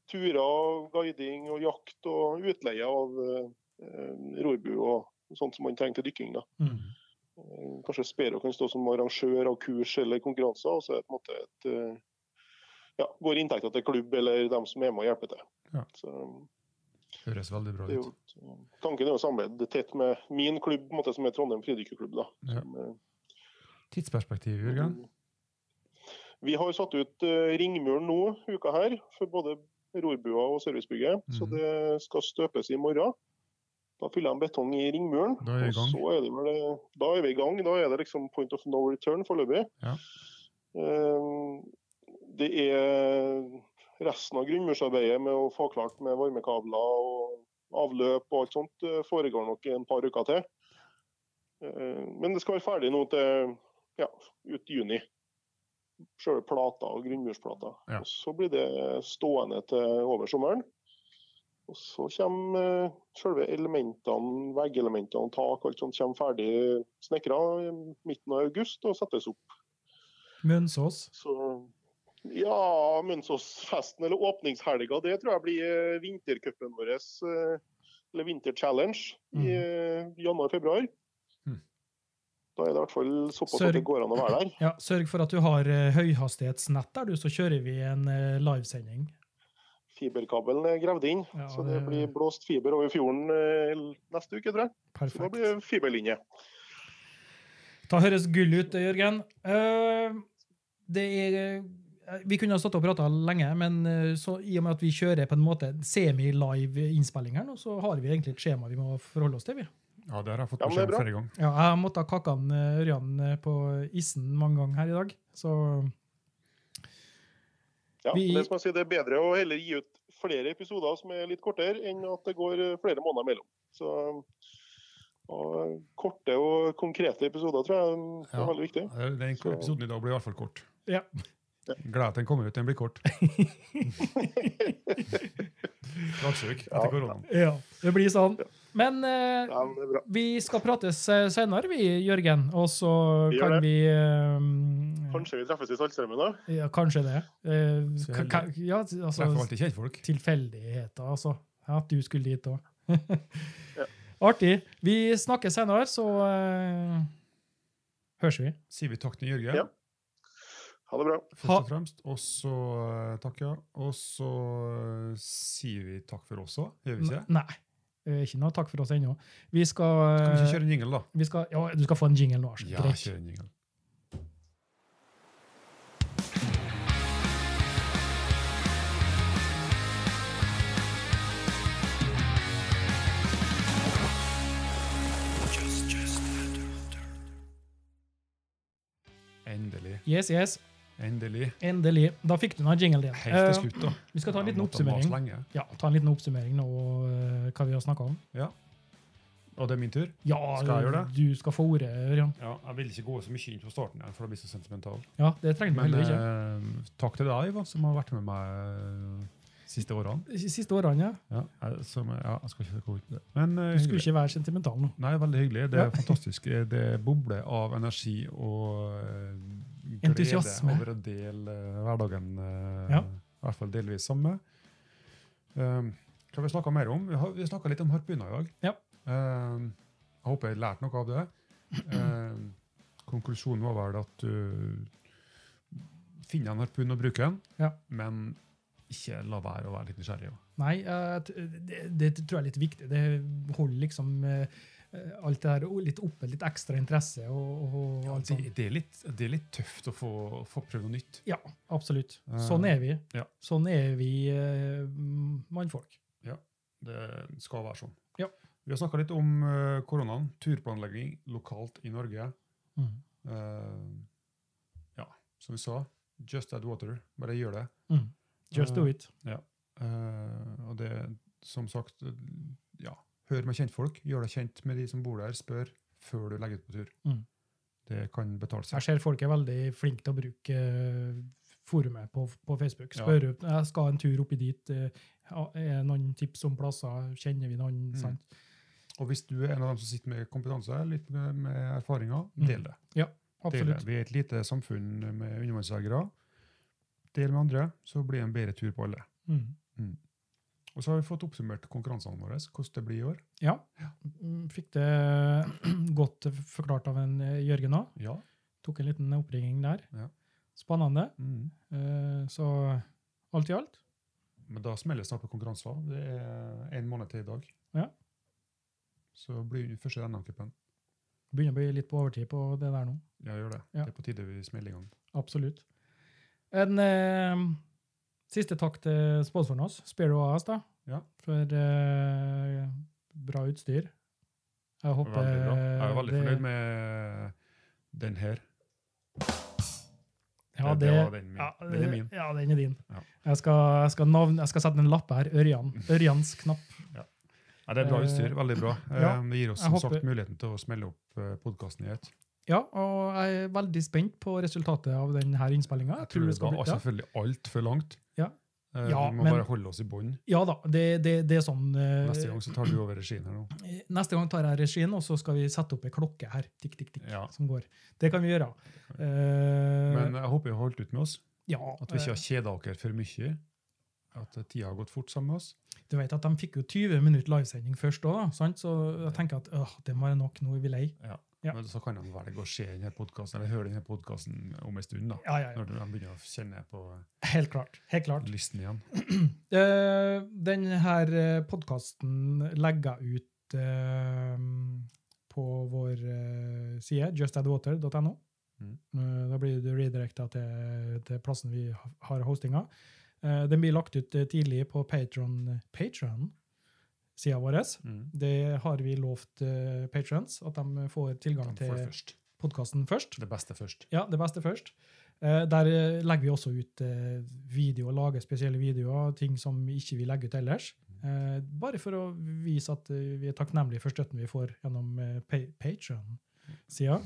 S3: turer, guiding og jakt og utleie av eh, rorbu og sånt som man trenger til dykking. da.
S2: Mm.
S3: Eh, Kanskje Spero kan stå som arrangør av kurs eller konkurranser. og så er det på en måte et, eh, ja, går inntekta til klubb eller dem som er med og hjelper til.
S1: Ja.
S3: Så,
S1: Høres veldig bra
S3: det er
S1: ut.
S3: jo, tanken er jo å samarbeide tett med min klubb, på en måte, som er Trondheim fridykkerklubb. da.
S1: Ja.
S3: Som, eh,
S1: Tidsperspektiv, Jørgen?
S3: Mm. Vi har jo satt ut eh, ringmuren nå, uka her, for både rorbua og servicebygget. Så
S1: Mhm.
S3: det skal støpes i morgen. Da fyller de betong i ringmuren.
S1: Da er vi i gang.
S3: Og så er det vel, eh, da er vi i gang. Da er det liksom point of no return foreløpig.
S1: Ja.
S3: Eh, Det er resten av grunnmursarbeidet med å få klart med varmekabler og avløp og alt sånt eh, foregår nok i en par uker til. Eh, Men det skal være ferdig nå til ja, ut juni. Selve plata og grunnmursplata.
S1: Ja.
S3: Og så blir det stående til over sommeren. Og så kommer eh, selve elementene, veggelementene, tak, alt sånt kommer ferdig snekra i midten av august og settes opp.
S2: Mønsås.
S3: Så ja, Mønsåsfesten eller åpningshelga, det tror jeg blir eh, vintercupen vår. eh, Eller vinterchallenge i eh, januar-februar.
S1: Mm.
S3: Da er det i hvert fall såpass
S2: Sør-
S3: at det går an å være der.
S2: Ja, sørg for at du har eh, høyhastighetsnett der, du, så kjører vi en eh, livesending.
S3: Fiberkabelen er gravd inn,
S2: Ja,
S3: så det
S2: det-
S3: blir blåst fiber over fjorden eh, neste uke, tror jeg. Så da
S2: Perfekt.
S3: blir det fiberlinje.
S2: Da høres gull ut, det, Jørgen. Eh, det er eh, Vi kunne ha stått og prata lenge, men eh, så, i og med at vi kjører på en måte semi-live innspilling her nå, så har vi egentlig et skjema vi må forholde oss til. vi.
S1: Ja, det har jeg fått
S3: Ja, men det
S1: beskjed om
S3: er bra.
S1: flere ganger.
S2: Ja, jeg måtte ha kakka han, eh, Ørjan eh, på issen mange ganger her i dag, så
S3: Ja,
S2: Vi-
S3: det, som jeg sier, det er bedre å heller gi ut flere episoder som er litt kortere, enn at det går eh, flere måneder mellom. Så og korte og konkrete episoder tror jeg er
S1: Ja.
S3: veldig viktig.
S1: Ja, Den
S3: Så-
S1: episoden i dag blir i hvert fall kort.
S2: Ja.
S1: Gleder jeg til den kommer ut. Den blir kort. Lagsjuk etter
S3: Ja.
S1: koronaen.
S2: Ja, det blir sånn. Men eh,
S3: Ja, men det er bra.
S2: Vi skal prates eh, senere, vi, Jørgen. Og så
S3: Vi gjør
S2: kan
S3: det.
S2: vi eh,
S3: Kanskje vi treffes i Saltstraumen da?
S2: Ja, kanskje det. Eh,
S1: Så
S2: ka- ka- ja,
S1: Treffer
S2: altså
S1: alltid kjentfolk.
S2: Tilfeldigheter, altså. Ja, At du skulle dit òg.
S3: Ja.
S2: Artig. Vi snakkes senere, så eh, høres vi.
S1: Sier vi takk til Jørgen,
S3: Ja. Ha det bra.
S1: først og fremst. Og så eh, takk, ja. Og så eh, sier vi takk for oss òg, gjør vi ikke? det?
S2: Nei. eh, Ikke noe takk for oss ennå. Vi skal,
S1: Kan vi
S2: eh,
S1: ikke kjøre en jingle, da?
S2: vi skal Ja, du skal få en jingle nå, Ars.
S1: Ja,
S2: Greit.
S1: kjør en jingle. Endelig.
S2: Yes, yes.
S1: Endelig.
S2: Endelig. Da fikk du nå jingle din. Eh,
S1: Helt til slutt, da.
S2: vi skal ta en
S1: Jeg
S2: liten
S1: måtte mase
S2: oppsummering.
S1: lenge.
S2: Ja, ta en liten oppsummering nå, eh, hva vi har snakka om.
S1: Og det er min tur?
S2: Ja,
S1: Skal jeg gjøre
S2: du skal få ordet, Ørjan.
S1: Ja, Jeg vil ikke gå så mye inn på starten, her, for da blir jeg så sentimental.
S2: Ja, det trenger du
S1: Men
S2: heller ikke.
S1: eh, takk til deg, Ivan, som har vært med meg siste årene.
S2: De siste årene, ja.
S1: Ja, jeg, som, ja, jeg skal ikke gå ut i det. Men eh,
S2: Du skulle
S1: hyggelig.
S2: ikke være sentimental nå.
S1: Nei, veldig hyggelig. Det er
S2: Ja.
S1: fantastisk. Eh, Det bobler av energi og eh, glede
S2: Entusiasme.
S1: over å dele eh, hverdagen, eh,
S2: Ja.
S1: i hvert fall delvis samme. Um, hva har vi snakka mer om? Vi, har- vi snakka litt om harpuner i dag.
S2: Ja.
S1: Um, jeg håper jeg lærte noe av det. Um, konklusjonen var vel at du finner en harpun og bruker den,
S2: Ja.
S1: men ikke la være å være litt nysgjerrig.
S2: Nei, eh, t- det, det tror jeg er litt viktig. Det holder liksom eh, eh, alt det her o- litt oppe, litt ekstra interesse og, og
S1: Ja,
S2: alt
S1: det,
S2: sånt.
S1: det, er litt, det er litt tøft å få, få prøve noe nytt.
S2: Ja, absolutt.
S1: Eh,
S2: Sånn er vi.
S1: ja.
S2: Sånn er vi eh, mannfolk.
S1: Det skal være sånn.
S2: Ja.
S1: Vi har snakka litt om eh, koronaen, turplanlegging lokalt i Norge. Mm. Eh, ja, som vi sa, just add water. Bare gjør det.
S2: Mm. Just do
S1: Eh,
S2: it.
S1: Eh, og det, som sagt, eh, ja, hør med kjentfolk. Gjør deg kjent med de som bor der. Spør før du legger ut på tur.
S2: Mm.
S1: Det kan betale seg.
S2: Jeg ser folk er veldig flinke til å bruke eh, forumet på, på Facebook.
S1: Ja.
S2: Spør opp, jeg skal en tur oppi dit. eh, ja, Er det noen tips om plasser? Kjenner vi noen?
S1: Mm.
S2: Sant?
S1: Og hvis du er en av dem som sitter med kompetanse, litt med, med erfaringer,
S2: Mm.
S1: del det. Del det.
S2: Absolutt.
S1: Vi er et lite samfunn med undervannsjegere. Del med andre, så blir det en bedre tur på alle.
S2: Mm.
S1: Og så har vi fått oppsummert konkurransene våre, hvordan det blir i år.
S2: Ja. Mm, Fikk det godt forklart av en eh, Jørgen òg.
S1: Ja.
S2: Tok en liten oppringning der.
S1: Ja.
S2: Spennende.
S1: Mm.
S2: Eh, Så alt i alt
S1: Men da smeller det snart på konkurranser. Det er en måned til i dag.
S2: Ja.
S1: Så blir det første NM-cupen.
S2: begynner å bli litt på overtid på det der nå.
S1: Ja, gjør det.
S2: Ja.
S1: Det er på tide vi smeller i gang.
S2: Absolutt. En eh, siste takk til sponsoren oss, Sparrow AS, da,
S1: Ja.
S2: for eh, bra utstyr. Jeg håper eh,
S1: Veldig bra. Jeg er veldig
S2: det-
S1: fornøyd med den her.
S2: ja,
S1: det,
S2: det,
S1: var den min.
S2: ja,
S1: den er min.
S2: Ja, den er din.
S1: Ja.
S2: Jeg, skal, jeg, skal navn, jeg skal sette en lapp her. Ørjan. Ørjans knapp.
S1: Ja, det er bra
S2: eh,
S1: utstyr. Veldig bra.
S2: ja,
S1: Eh, det gir oss
S2: jeg
S1: som
S2: håper-
S1: sagt muligheten til å smelle opp podkasten i ett.
S2: Ja, og jeg er veldig spent på resultatet av denne innspillinga.
S1: Jeg tror det
S2: skal
S1: var
S2: bli
S1: altså,
S2: bra.
S1: selvfølgelig altfor langt.
S2: Ja.
S1: Eh,
S2: Ja,
S1: vi må
S2: men-
S1: bare holde oss i bånd.
S2: Ja da, det, det, det er sånn eh,
S1: Neste gang så tar du over regien her nå.
S2: eh, neste gang tar jeg regien, og så skal vi sette opp ei klokke her. Tikk, tikk, tikk,
S1: Ja.
S2: som går. Det kan vi gjøre. Eh,
S1: Men jeg håper vi har holdt ut med oss.
S2: ja,
S1: At vi ikke
S2: eh,
S1: har kjeda dere for mye. At eh, tida har gått fort sammen med oss.
S2: eh, Du vet at de fikk jo 20 minutter livesending først òg, da. Sant? Så jeg tenker at åh, det må være nok, nå er vi lei. Ja.
S1: Men så kan de velge å se denne podcasten, eller høre denne podkasten om en stund. da.
S2: Ja, ja, ja.
S1: Når de begynner å kjenne på
S2: Helt klart. Helt klart.
S1: lysten igjen.
S2: Eh, den her eh, podkasten legger jeg ut eh, på vår eh, side, justaddwater.no.
S1: Mm.
S2: Eh, da blir du redirekta til, til plassen vi ha- har hostinga. Eh, den blir lagt ut eh, tidlig på Patron-sida vår.
S1: Mm.
S2: Det har vi lovt eh, patrons, at de får tilgang
S1: De får
S2: til
S1: først.
S2: podkasten først.
S1: Det beste først.
S2: Ja, det beste først. Eh, der eh, legger vi også ut eh, videoer, lager spesielle videoer, ting som ikke vi legger ut ellers. Eh, bare for å vise at eh, vi er takknemlige for støtten vi får gjennom eh, pa- Patreon-sida.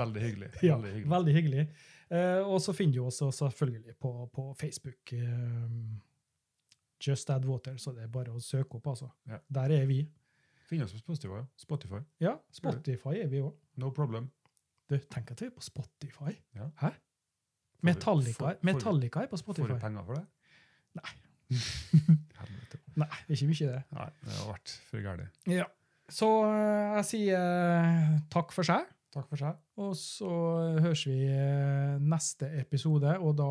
S1: Veldig hyggelig.
S2: Ja,
S1: Veldig hyggelig.
S2: veldig hyggelig. Eh, og så finner du oss også selvfølgelig på, på Facebook. eh, Just Add Water, så det er bare å søke opp, altså.
S1: Ja.
S2: Der er vi.
S1: Finn oss på Spotify. ja. Spotify.
S2: Ja,
S1: Gjør
S2: Spotify er vi òg.
S1: No problem.
S2: Du, tenk at vi er på Spotify.
S1: Ja.
S2: Hæ?
S1: vi-
S2: Metallica,
S1: får- får vi-
S2: Metallica er på
S1: Får
S2: Spotify.
S1: du penger for det?
S2: Nei.
S1: Helvete.
S2: Nei, ikke mye det.
S1: Nei, det har vært for gærent.
S2: Ja. Så eh, jeg sier eh, takk for seg,
S1: Takk for seg.
S2: og så høres vi eh, neste episode, og da,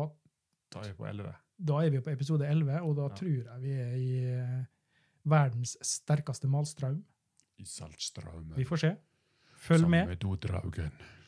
S1: Da er vi på 11.
S2: da er vi på episode 11, og da
S1: Ja.
S2: tror jeg vi er i eh, verdens sterkeste malstrøm.
S1: I Saltstraumen.
S2: Vi får se. Følg med.
S1: Sammen med Dodraugen.